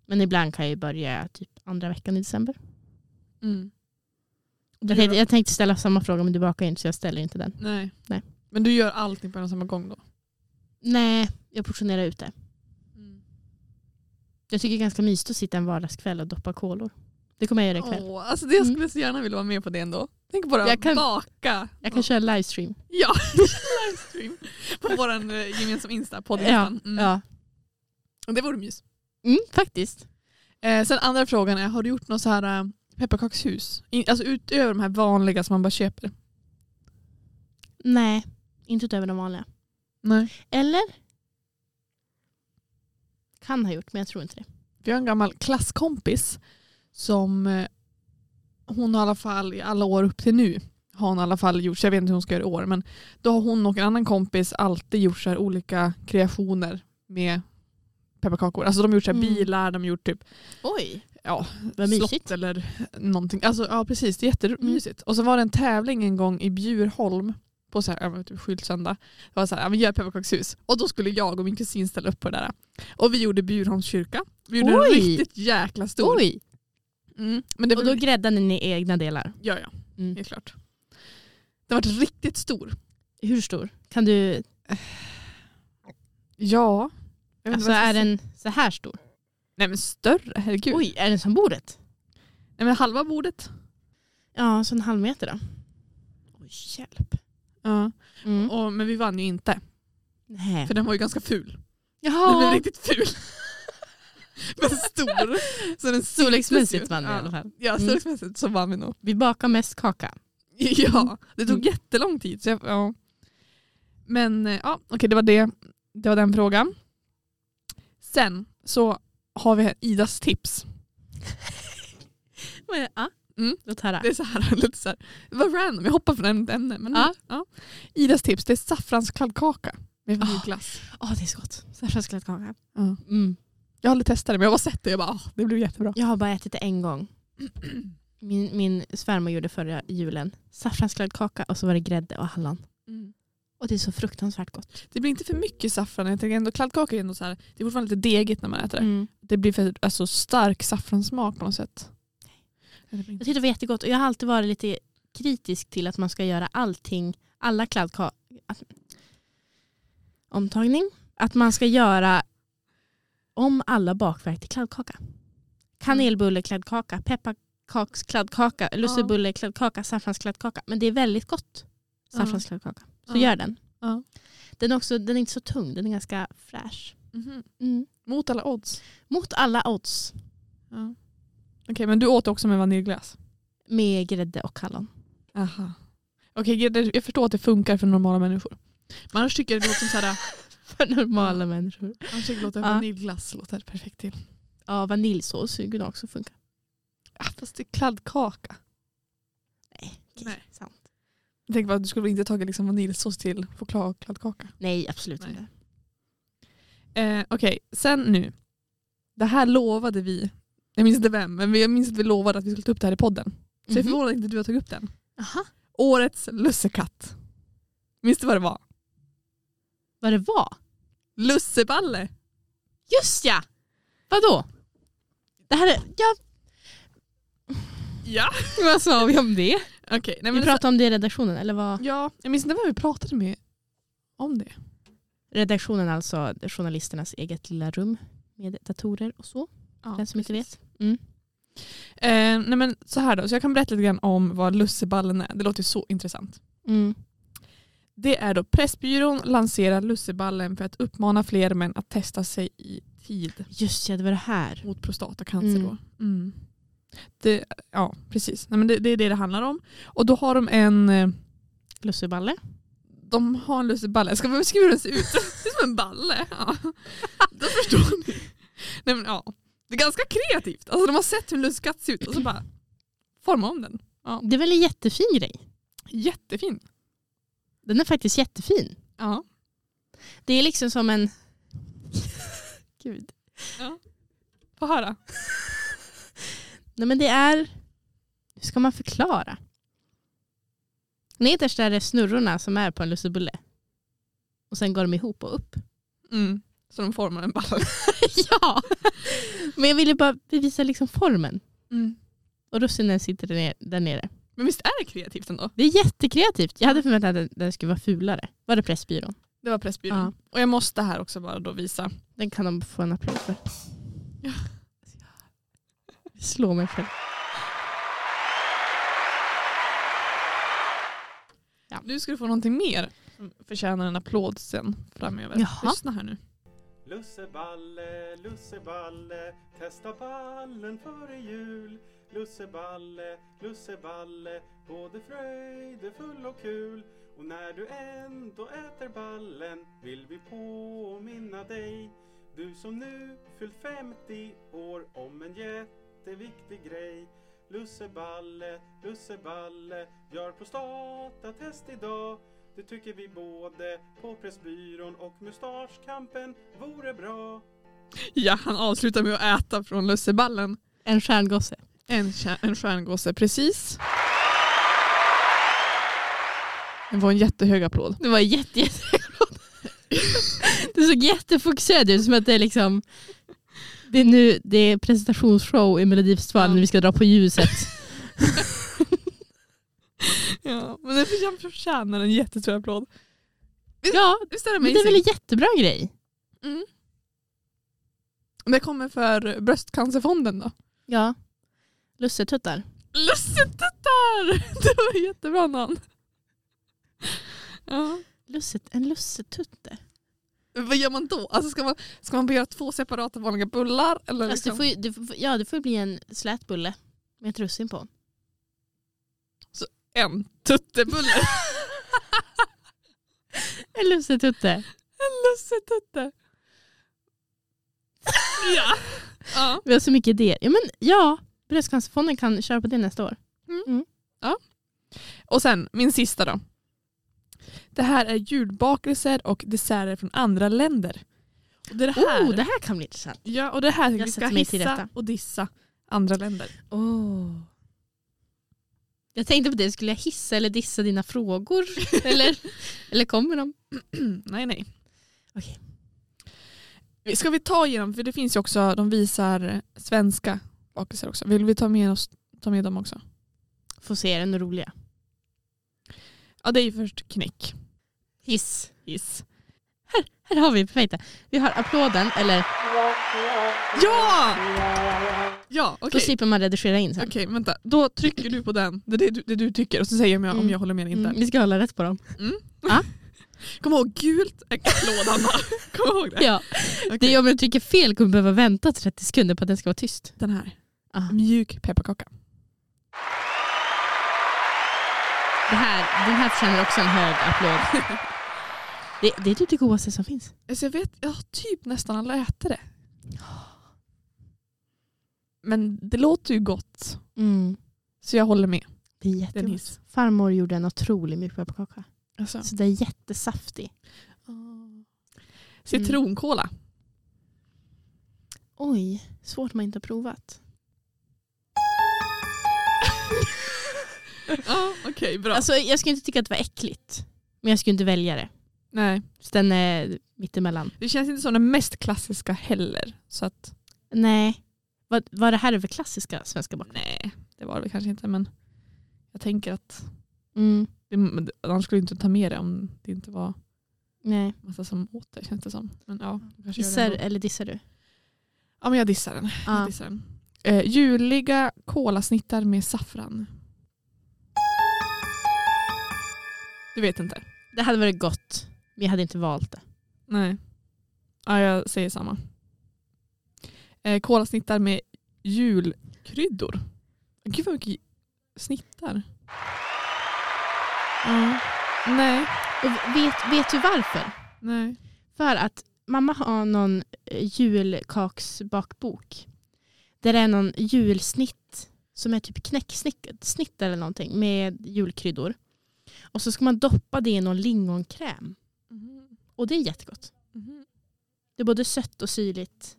S2: Men ibland kan jag ju börja typ andra veckan i december.
S3: Mm.
S2: Jag tänkte, jag tänkte ställa samma fråga men du bakar ju inte så jag ställer inte den.
S3: Nej.
S2: Nej.
S3: Men du gör allting på en och samma gång då?
S2: Nej, jag portionerar ut det. Jag tycker det är ganska mysigt att sitta en vardagskväll och doppa kolor. Det kommer jag göra ikväll.
S3: Åh, alltså det jag
S2: Mm.
S3: skulle så gärna vilja vara med på det ändå. Tänk bara
S2: Jag kan-
S3: baka.
S2: Jag kan köra livestream.
S3: Ja, (laughs) livestream. På vår eh, gemensamma Insta, podd
S2: Ja,
S3: Instan. mm.
S2: ja.
S3: Och Det vore mys.
S2: Mm, faktiskt.
S3: Eh, sen andra frågan är, har du gjort något så här eh, pepparkakshus? In, alltså utöver de här vanliga som man bara köper?
S2: Nej, inte utöver de vanliga.
S3: Nej.
S2: Eller? Kan ha gjort, men jag tror inte det.
S3: Vi har en gammal klasskompis som eh, hon har i alla fall i alla år upp till nu har hon i alla fall gjort, så jag vet inte hur hon ska göra i år, men då har hon och en annan kompis alltid gjort så här olika kreationer med pepparkakor. Alltså de har gjort så här
S2: Mm.
S3: bilar, de har gjort typ
S2: Oj,
S3: ja,
S2: vad
S3: slott
S2: mysigt. Mm.
S3: eller någonting. Alltså, ja precis, det är jättemysigt. Och så var det en tävling en gång i Bjurholm på så här, ja, men typ skyltsöndag. Det var så här, ja, men gör pepparkakshus. Och då skulle jag och min kusin ställa upp på det där. Och vi gjorde Bjurholms kyrka. Vi gjorde en
S2: Oj!
S3: riktigt jäkla stor.
S2: Oj,
S3: Mm. Men det
S2: och
S3: var,
S2: då gräddade ni egna delar.
S3: ja, ja,
S2: Mm.
S3: det är klart. Den var
S2: (sighs)
S3: riktigt stor.
S2: Hur stor? Kan du,
S3: Ja.
S2: alltså är den så här stor?
S3: Nej men större, herregud.
S2: Oj, är den som bordet?
S3: Nej men halva bordet.
S2: Ja, så en halv meter då. Oj, hjälp.
S3: Ja.
S2: Mm.
S3: Och, men vi vann ju inte.
S2: Nej.
S3: För den var ju ganska ful. Den blev
S2: Jaha.
S3: riktigt ful. (laughs)
S2: (laughs)
S3: Men stor. Så den
S2: Storleksmässigt vann vi
S3: ja.
S2: i alla fall. Mm.
S3: Ja, storleksmässigt så vann vi nog.
S2: Vi bakar mest kaka.
S3: Ja, det tog
S2: Mm.
S3: jättelång tid. Så jag, ja. Men eh, ja, okej det var det. Det var den frågan. Sen så har vi här Idas tips.
S2: Ja,
S3: Mm.
S2: låt höra.
S3: Det är så här, (laughs) lite så här, det var random, jag hoppar från ämne till ämne. Men
S2: Ja.
S3: Ja. Idas tips, det är saffranskladdkaka med
S2: Ah.
S3: vaniljglass.
S2: Ja, det är så gott. Saffransklättkaka.
S3: Ja.
S2: Mm.
S3: Jag har aldrig testat det men jag har bara sett det och jag bara, ah, det blev jättebra.
S2: Jag har bara ätit det en gång. Min, min svärmor gjorde förra julen. Saffransklättkaka och så var det grädde och hallon. Och det är så fruktansvärt gott.
S3: Det blir inte för mycket saffran. Jag tänker ändå, kladdkaka är ändå så här, det är fortfarande lite degigt när man
S2: Mm.
S3: äter det. Det blir för alltså, stark saffranssmak på något sätt. Eller
S2: Jag
S3: inte.
S2: tyckte det var jättegott och jag har alltid varit lite kritisk till att man ska göra allting, alla kladdkakor, omtagning, att man ska göra om alla bakverk till kladdkaka.
S3: Mm.
S2: Kanelbulle, kladdkaka, pepparkaks, kladdkaka, lussebulle, kladdkaka, saffranskladdkaka. Men det är väldigt gott,
S3: Ja.
S2: saffranskladdkaka. Så
S3: Ja.
S2: gör den.
S3: Ja.
S2: Den, är också, den är inte så tung, den är ganska fräsch.
S3: Mhm.
S2: Mm.
S3: Mot alla odds.
S2: Mot alla odds
S3: Ja. Okej, men du åt också med vaniljglass?
S2: med grädde och hallon.
S3: Aha. Okej, det- jag förstår att det funkar för normala människor. Men annars tycker jag det låter som så här,
S2: (laughs) För normala människor.
S3: annars tycker jag det låter
S2: Ja.
S3: vaniljglass låter perfekt till.
S2: Ja, vaniljsås skulle också funka.
S3: Ah, fast det är kladdkaka.
S2: Nej,
S3: Nej.
S2: Nej. Sant.
S3: Jag tänker bara att du skulle väl inte tagit liksom vaniljsås till chokladkladdkaka?
S2: Nej, absolut
S3: Nej.
S2: inte.
S3: Eh, Okej, sen nu. Det här lovade vi. Jag minns inte vem, men jag minns att vi lovade att vi skulle ta upp det här i podden. Så jag är
S2: Mhm.
S3: förvånad att inte du har tagit upp den.
S2: Aha.
S3: Årets lussekatt. Minns du vad det var?
S2: Vad det var?
S3: Lusseballe.
S2: Just ja! Vadå? Det här är... Ja,
S3: Ja.
S2: (laughs) vad sa vi om det?
S3: Okej. nej, men
S2: vi pratade om det i redaktionen, eller vad?
S3: ja, jag minns inte vem vi pratade med om det.
S2: Redaktionen alltså journalisternas eget lilla rum med datorer och så.
S3: Ja,
S2: den som inte vet.
S3: Eh, nej men så här då, så jag kan berätta lite grann om vad lusseballen är. Det låter ju så intressant.
S2: Mm.
S3: Det är då Pressbyrån lanserar lusseballen för att uppmana fler män att testa sig i tid
S2: Just ja, det var det här.
S3: mot prostatacancer
S2: Mm.
S3: då. Det, ja, precis. Nej, men det, det är det det handlar om. Och då har de en eh,
S2: Lusseballe.
S3: De har en lusseballe. Ska man beskriva hur den ser ut? (laughs) Det är som en balle. Ja. Då förstår ni. Nej, men, ja. Det är ganska kreativt. Alltså, de har sett hur en lussekatt ser ut och så bara forma om den.
S2: Det är väl en jättefin grej?
S3: Jättefin.
S2: Den är faktiskt jättefin.
S3: Ja.
S2: Det är liksom som
S3: (laughs)
S2: en... Gud.
S3: Få höra.
S2: (laughs) Nej men det är, hur ska man förklara? Nederst är det snurrorna som är på en lussebulle. Och sen går de ihop och upp.
S3: Mm. Så de formar en balle.
S2: ja! (laughs) Men jag ville bara bevisa liksom formen.
S3: Mm.
S2: Och russinen sitter där nere, där nere.
S3: Men visst är det kreativt ändå?
S2: Det är jättekreativt. Jag hade förväntat mig att den- den skulle vara fulare. Var det Pressbyrån?
S3: Det var Pressbyrån.
S2: Ja.
S3: Och jag måste här också bara då visa.
S2: Den kan de få en applåd för.
S3: Ja.
S2: Jag slår mig själv. Ja.
S3: Du skulle få någonting mer som förtjänar en applåd sen framöver.
S2: Jaha.
S3: Lyssna här nu.
S1: Lusseballe, lusseballe, testa ballen före jul. Lusseballe, lusseballe, både fröjdefull och kul. Och när du ändå äter ballen vill vi påminna dig. Du som nu fyllt 50 år om en jätteviktig grej. Lusseballe, lusseballe, gör prostatatest idag. Det tycker vi både på Pressbyrån och Mustaschkampen vore bra.
S3: Ja, han avslutar med att äta från lusseballen.
S2: En stjärngosse.
S3: En, kär, en stjärngosse, precis. Det var en jättehög applåd.
S2: Det var jätte, jätte (laughs) Det såg jättefokuserad ut som att det är liksom det är nu det är presentationsshow i Melodifestivalen
S3: Ja.
S2: när vi ska dra på (laughs) ljuset.
S3: Ja, men den förtjän- förtjänar en jättestor applåd.
S2: Ja,
S3: Visst är det
S2: men det är väl
S3: amazing?
S2: en jättebra grej?
S3: Mm. Det kommer för Bröstcancerfonden då.
S2: Ja. Lussetuttar.
S3: Lussetuttar! (laughs) Det var jättebra namn. Ja.
S2: Lusset, en lussetutte.
S3: Vad gör man då? Alltså ska, man, ska man göra två separata vanliga bullar? Eller
S2: Alltså, det
S3: liksom?
S2: får ju, det får, ja, det får ju bli en slät bulle med ett russin på.
S3: En tuttebulle.
S2: En lussetutte.
S3: (laughs) en lussetutte. (laughs) ja. ja.
S2: Vi har så mycket idéer. Ja, men, ja Bröstcancerfonden kan köra på det nästa år.
S3: Och sen min sista då. Det här är julbakelser och desserter från andra länder. Och det, är det här,
S2: Oh, det här kan bli intressant.
S3: Ja, och det här
S2: Jag
S3: vi ska
S2: sätter mig till
S3: hissa
S2: rätta.
S3: och dissa andra länder.
S2: Oh. Jag tänkte på det, skulle jag hissa eller dissa dina frågor? (laughs) eller, eller kommer de?
S3: (clears throat) nej, nej.
S2: Okej.
S3: Ska vi ta igenom, för det finns ju också, de visar svenska bakelser också. Vill vi ta med, oss, ta med dem också?
S2: Får se, är den roliga?
S3: Ja, det är ju först knäck.
S2: Hiss.
S3: Hiss.
S2: Här har vi, perfekta. Vi har applåden, eller
S3: Ja! Ja, okej.
S2: då slipper man redigera in sen.
S3: Okej, vänta. Då trycker du på den, det, är det, du, det du tycker, och så säger jag om jag, om
S2: Mm.
S3: jag håller med eller inte.
S2: Mm, vi ska hålla rätt på dem.
S3: Kom ihåg, gult
S2: (laughs)
S3: är applåd Anna. Kom ihåg det.
S2: Ja. (laughs) Det
S3: Okej.
S2: är om jag trycker fel kommer jag behöva vänta 30 sekunder på att den ska vara tyst.
S3: Den här.
S2: Ah.
S3: Mjuk pepparkaka.
S2: Det här, den här förtjänar också en hög applåd. Det, det är typ det godaste som finns.
S3: Alltså jag vet, jag har typ nästan alla äter det. Men det låter ju gott,
S2: Mm.
S3: så jag håller med.
S2: Det är
S3: Det är en
S2: jättegott.
S3: hiss.
S2: Farmor gjorde en otrolig mjukpepparkaka.
S3: Alltså.
S2: Så det är jättesaftig. Ah.
S3: Citronkola.
S2: Oj, svårt man inte har provat.
S3: ja, Okej, (laughs) bra.
S2: Alltså, jag skulle inte tycka att det var äckligt. Men jag skulle inte välja det.
S3: Nej,
S2: Så den är mittemellan.
S3: det känns inte som den mest klassiska heller. Så att,
S2: Nej. Vad, vad det här är för klassiska svenska bakom?
S3: nej, det var det kanske inte. Men jag tänker att
S2: Mm,
S3: det, men det- annars skulle du inte ta med det om det inte var
S2: nej.
S3: massa som åt det känns det som. Men ja, jag kanske gör det
S2: Dissar,
S3: ändå.
S2: eller dissar du?
S3: Ja, men jag dissar den. Jag
S2: Ja.
S3: dissar den. Eh, juliga kolasnittar med saffran. Du vet inte?
S2: Det hade varit gott, men jag hade inte valt det.
S3: Nej. Ja, jag säger samma. Eh, kolasnittar med julkryddor. Gud vad mycket snittar. Ja. Nej.
S2: Och vet, vet du varför?
S3: Nej.
S2: För att mamma har någon eh, julkaksbakbok. Där det är någon julsnitt som är typ knäcksnitt snitt eller någonting med julkryddor. Och så ska man doppa det i någon lingonkräm. Och det är jättegott. Det är både sött och syrligt.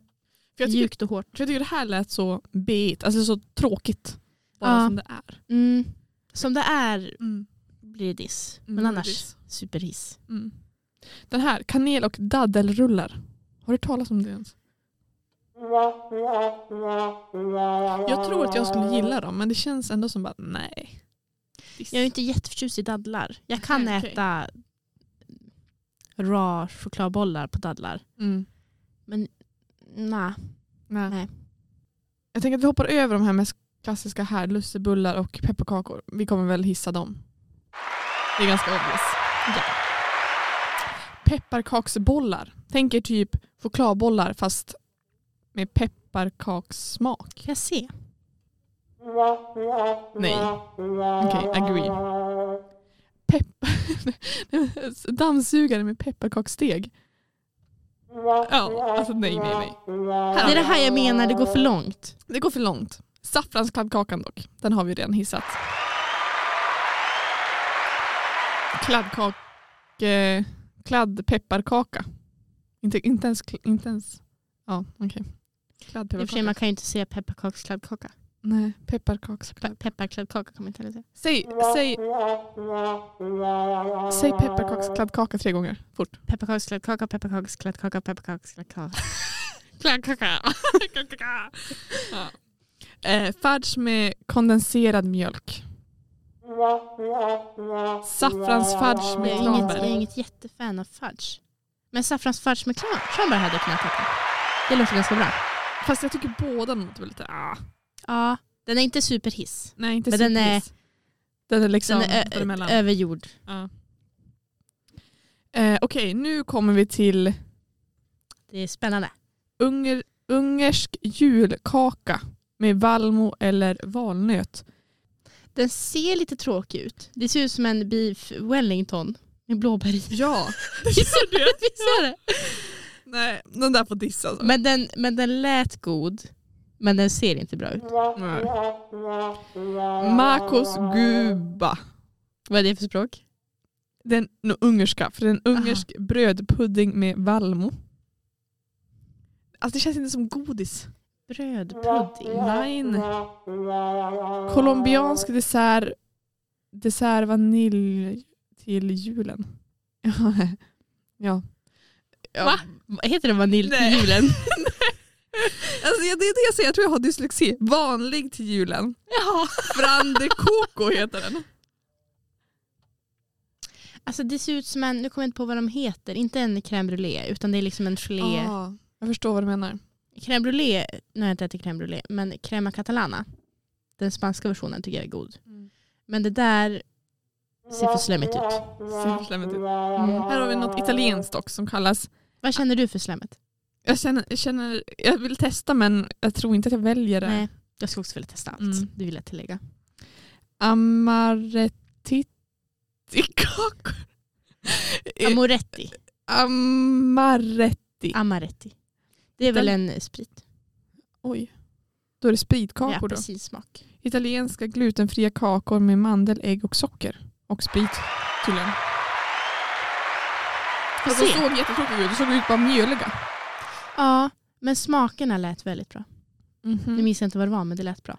S3: För jag, tycker,
S2: mjukt och hårt.
S3: för jag tycker det här lät så bet, alltså så tråkigt. Bara
S2: Ja.
S3: som det är.
S2: Mm. Som det är
S3: Mm.
S2: blir det diss.
S3: Mm,
S2: Men
S3: det är
S2: annars
S3: diss.
S2: superhiss.
S3: Mm. Den här, kanel och daddelrullar. Har du talat om det ens? Jag tror att jag skulle gilla dem men det känns ändå som bara nej. Diss.
S2: Jag är inte jätteförtjust i dadlar. Jag kan
S3: Okej.
S2: äta rå chokladbollar på dadlar.
S3: Mm.
S2: Nej.
S3: Nej.
S2: Nej.
S3: Jag tänker att vi hoppar över de här mest klassiska här, lussebullar och pepparkakor. Vi kommer väl hissa dem. Det är ganska obvious. Ja. Pepparkaksbollar. Tänk er typ chokladbollar fast med pepparkakssmak.
S2: Kan jag se?
S3: Nej. Okej, agree. Pepp... (laughs) Dammsugare med pepparkaksdeg. Ja, alltså nej, nej, nej.
S2: Det är det här jag menar, det går för långt.
S3: Det går för långt. Saffranskladdkakan dock, den har vi redan hissat. Kladdkak... Eh, kladdpepparkaka. Inte, inte ens... kl- Inte ens ja,
S2: I
S3: okej.
S2: och för sig,
S3: Kladdpepparkaka.
S2: man kan ju inte säga pepparkakskladdkaka.
S3: Nej, pepparkaks...
S2: Pe- Pepparkladdkaka kan man inte heller säga.
S3: Säg, säg... Säg pepparkakskladdkaka tre gånger. Fort.
S2: Pepparkakskladdkaka, pepparkakskladdkaka, pepparkakskladdkaka. (laughs) Kladdkaka!
S3: Eh, fudge med kondenserad mjölk. Saffransfudge
S2: Jag
S3: med
S2: är, inget, jag är
S3: klarbär.
S2: inget jättefan av fudge. Men saffransfudge med klar- klarbär hade jag kunnat tacka. Det låter ganska bra.
S3: Fast jag tycker båda låter lite... Ah.
S2: Ja, den är inte superhiss.
S3: Nej, inte
S2: Men den är-
S3: superhiss. Den är liksom
S2: Den är eh, ö-
S3: däremellan.
S2: övergjord.
S3: Ja. Eh, Okej, nu kommer vi till
S2: Det är spännande.
S3: unger, ungersk julkaka med valmo eller valnöt.
S2: Den ser lite tråkig ut. Det ser ut som en beef wellington med (laughs) blåbär i.
S3: Ja,
S2: Visst är det? Visst är det?
S3: nej, den där får alltså. dissas.
S2: Men, den, men den lät god. Men den ser inte bra ut.
S3: Nej. Makos guba.
S2: Vad är det för språk?
S3: Det är en no, ungerska, för det är en ungersk brödpudding med valmo. Alltså det känns inte som godis.
S2: Brödpudding.
S3: Nej. Colombiansk dessert, dessert vanilj till julen. (laughs) ja. ja.
S2: Va? Vad Heter det vanilj
S3: (laughs)
S2: (laughs) till
S3: Nej.
S2: julen?
S3: Alltså, det är det jag säger, jag tror jag har dyslexi. Vanlig till julen.
S2: Jaha.
S3: Brande coco
S2: (laughs)
S3: heter den.
S2: Alltså det ser ut som en, nu kommer jag inte på vad de heter, inte en crème brûlée utan det är liksom en gelé.
S3: Ah, jag förstår vad du menar.
S2: Crème brûlée, nu har jag inte ätit crème brûlée, men crema catalana, den spanska versionen tycker jag är god.
S3: Mm.
S2: Men det där ser för slemmigt ut.
S3: Ser för slemmigt ut.
S2: Mm.
S3: Här har vi något italienskt också som kallas.
S2: Vad känner du för slemmet?
S3: Jag, känner, jag, känner, jag vill testa men jag tror inte att jag väljer det.
S2: Nej, jag skulle också vilja testa allt.
S3: Mm.
S2: Det vill jag tillägga.
S3: Amarettikakor. Eh,
S2: Amoretti,
S3: Amaretti.
S2: amaretti. Det är väl en sprit?
S3: Oj. Då är det
S2: Med
S3: spritkakor då.
S2: apelsinsmak.
S3: Italienska glutenfria kakor med mandel, ägg och socker. Och sprit tydligen.
S2: Får
S3: Fast de
S2: se.
S3: såg jättetråkiga ut. De såg ut bara mjöliga.
S2: Ja, men smakerna lät väldigt bra.
S3: Mhm. Mm.
S2: Nu
S3: Mm-hmm.
S2: minns jag inte vad det var, men det lät bra.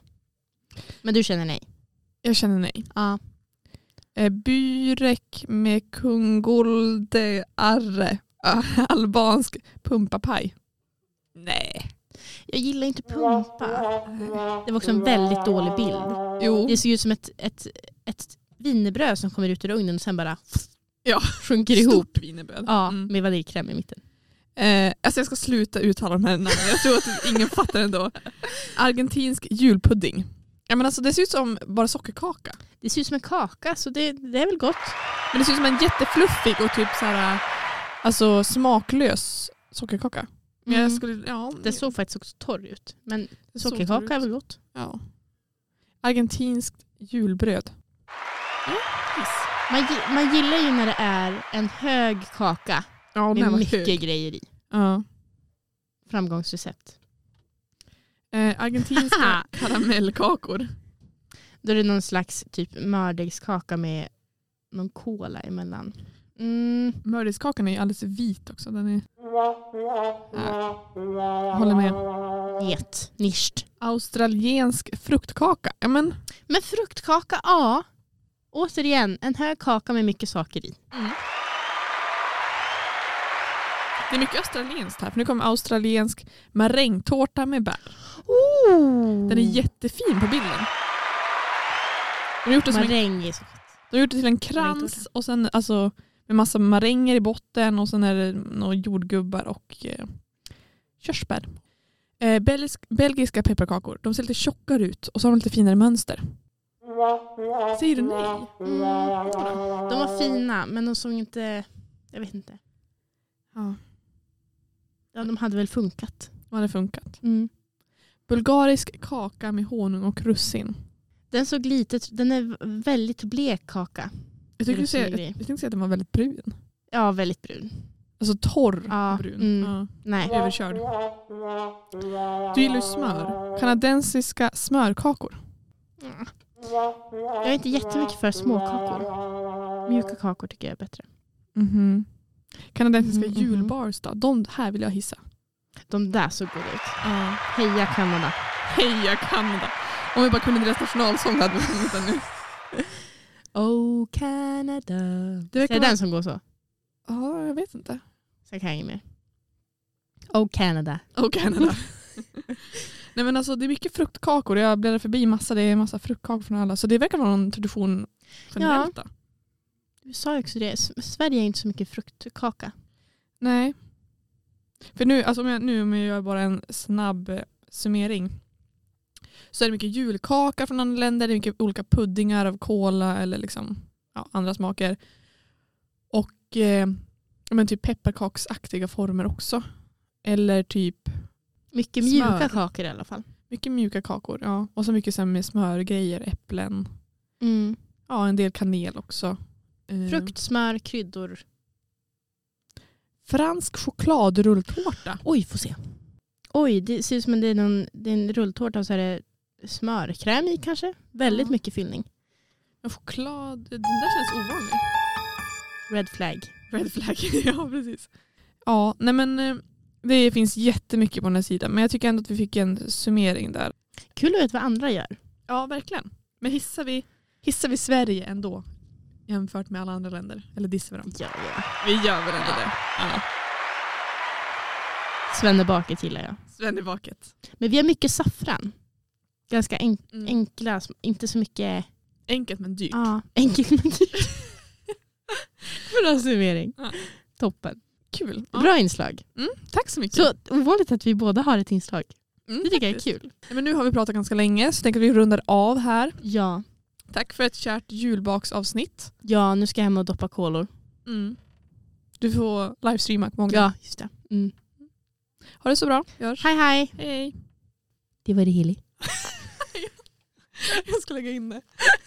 S2: Men du känner nej?
S3: Jag känner nej.
S2: Ja.
S3: Eh, Byrek med kungolde arre. Ah, (laughs) Albansk pumpapaj. Nej.
S2: Jag gillar inte pumpa. Det var också en väldigt dålig bild.
S3: Jo.
S2: Det ser ut som ett, ett, ett wienerbröd som kommer ut ur ugnen och sen bara
S3: Ja.
S2: sjunker ihop.
S3: Stort wienerbröd.
S2: Ja,
S3: Mm.
S2: med vaniljkräm i mitten.
S3: Eh, alltså jag ska sluta uttala de här namnen. Jag tror att ingen fattar (laughs) ändå. Argentinsk julpudding. Ja, men alltså, det ser ut som bara sockerkaka.
S2: Det ser ut som en kaka så det, det är väl gott.
S3: Men det ser ut som en jättefluffig och typ så här, alltså smaklös sockerkaka. Men jag
S2: Mm.
S3: skulle, ja,
S2: Det såg faktiskt också torr ut. Men
S3: det såg torr ut.
S2: sockerkaka är väl gott.
S3: Ja. Argentinskt julbröd. Ja, nice.
S2: Man, gi- man gillar ju när det är en hög kaka
S3: Ja, och den
S2: med
S3: här var
S2: mycket
S3: hög.
S2: grejer i.
S3: Ja.
S2: Framgångsrecept.
S3: Eh,
S2: (laughs)
S3: argentinska karamellkakor.
S2: Då är det någon slags typ mördegskaka med någon kola emellan. Mm.
S3: Mördiskakan är ju alldeles vit också. Den är... Ja. Håller med.
S2: Get. Nischt.
S3: Australiensk fruktkaka. Ja, men,
S2: Men fruktkaka, ja. Återigen, en hög kaka med mycket saker i.
S3: det är mycket australienskt här. För nu kommer australiensk marängtårta med bär. Den är jättefin på bilden. De har gjort det, som en,
S2: Maräng är så gott.
S3: de har gjort det till en krans
S2: Marängtårta.
S3: och sen alltså, med massa maränger i botten och sen är det några jordgubbar och eh, körsbär. Eh, belgisk, belgiska pepparkakor. De ser lite tjockare ut och så har de lite finare mönster. Säger du nej?
S2: Mm, de var fina men de såg inte, jag vet inte.
S3: Ja.
S2: Ja, de hade väl funkat.
S3: De hade funkat.
S2: Mm.
S3: Bulgarisk kaka med honung och russin.
S2: Den såg lite, den är väldigt blek kaka.
S3: Jag, tycker
S2: Eller
S3: du ser, jag,
S2: smidig.
S3: jag tänkte säga att den var väldigt brun.
S2: Ja, väldigt brun.
S3: Alltså torr
S2: Ja,
S3: brun.
S2: mm.
S3: Ja.
S2: Nej.
S3: Överkörd. Du gillar ju smör. Kanadensiska smörkakor.
S2: Mm. Jag är inte jättemycket för småkakor. Mjuka kakor tycker jag är bättre.
S3: Kanadensiska
S2: Mhm, mhm.
S3: julbars då? De här vill jag hissa.
S2: De där såg goda ut.
S3: Ja.
S2: Heja Kanada.
S3: Heja Kanada! Om vi bara kunde deras nationalsång hade vi sjungit den nu.
S2: Oh Canada.
S3: Det
S2: Det
S3: verkar
S2: är
S3: vara-
S2: den som går så.
S3: Ja, jag vet inte.
S2: Sen kan jag inget mer. Oh Canada.
S3: Oh Canada. (laughs) Nej men alltså det är mycket fruktkakor. Jag bläddrar förbi massa. Det är massa fruktkakor från alla. Så det verkar vara någon tradition generellt då.
S2: USA är också det. S- Sverige är inte så mycket fruktkaka.
S3: Nej. För nu, alltså om jag, nu om jag gör bara en snabb eh, summering. Så är det mycket julkaka från andra länder. Det är mycket olika puddingar av kola eller liksom, ja, andra smaker. Och eh, men typ pepparkaksaktiga former också. Eller typ
S2: Mycket
S3: Smör.
S2: mjuka kakor i alla fall.
S3: mycket mjuka kakor. Ja. Och så mycket så här med smörgrejer, äpplen.
S2: Mm.
S3: Ja, en del kanel också. Eh,
S2: Frukt, smör, kryddor.
S3: Fransk chokladrulltårta.
S2: Oj, får se. Oj, det ser ut som att det är, någon, det är en rulltårta och så är det smörkräm i kanske. Väldigt
S3: Ja.
S2: mycket fyllning.
S3: Men choklad, den där känns ovanlig.
S2: Red flag.
S3: Red flag. (laughs) ja, precis. Ja, nej men eh, det finns jättemycket på den här sidan. Men jag tycker ändå att vi fick en summering där.
S2: Kul att veta vad andra gör.
S3: Ja, verkligen. Men hissar vi, hissar vi Sverige ändå jämfört med alla andra länder? Eller dissar vi dem?
S2: Ja, ja.
S3: Vi gör väl ändå det. Ja.
S2: Svennebaket gillar jag.
S3: Sven i baket.
S2: Men vi har mycket saffran. Ganska en,
S3: Mm.
S2: enkla, sm- inte så mycket
S3: Enkelt men dyrt.
S2: (laughs) ja, enkelt men dyrt. Bra summering.
S3: Ja.
S2: Toppen.
S3: Kul. Ja.
S2: Bra inslag.
S3: Tack så mycket.
S2: Så ovanligt att vi båda har ett inslag.
S3: Mm,
S2: Det tycker jag är
S3: faktiskt.
S2: kul.
S3: Ja, Men nu har vi pratat ganska länge så jag tänker att vi rundar av här.
S2: Ja.
S3: Tack för ett kärt julbaksavsnitt.
S2: ja, nu ska jag hem och doppa kolor.
S3: Mm. Du får livestreama. Många.
S2: Ja, just det. Mm.
S3: Ha det så bra. Vi hörs.
S2: Hej hej.
S3: Hej.
S2: Det var det Hilly.
S3: (laughs) Jag ska lägga in det.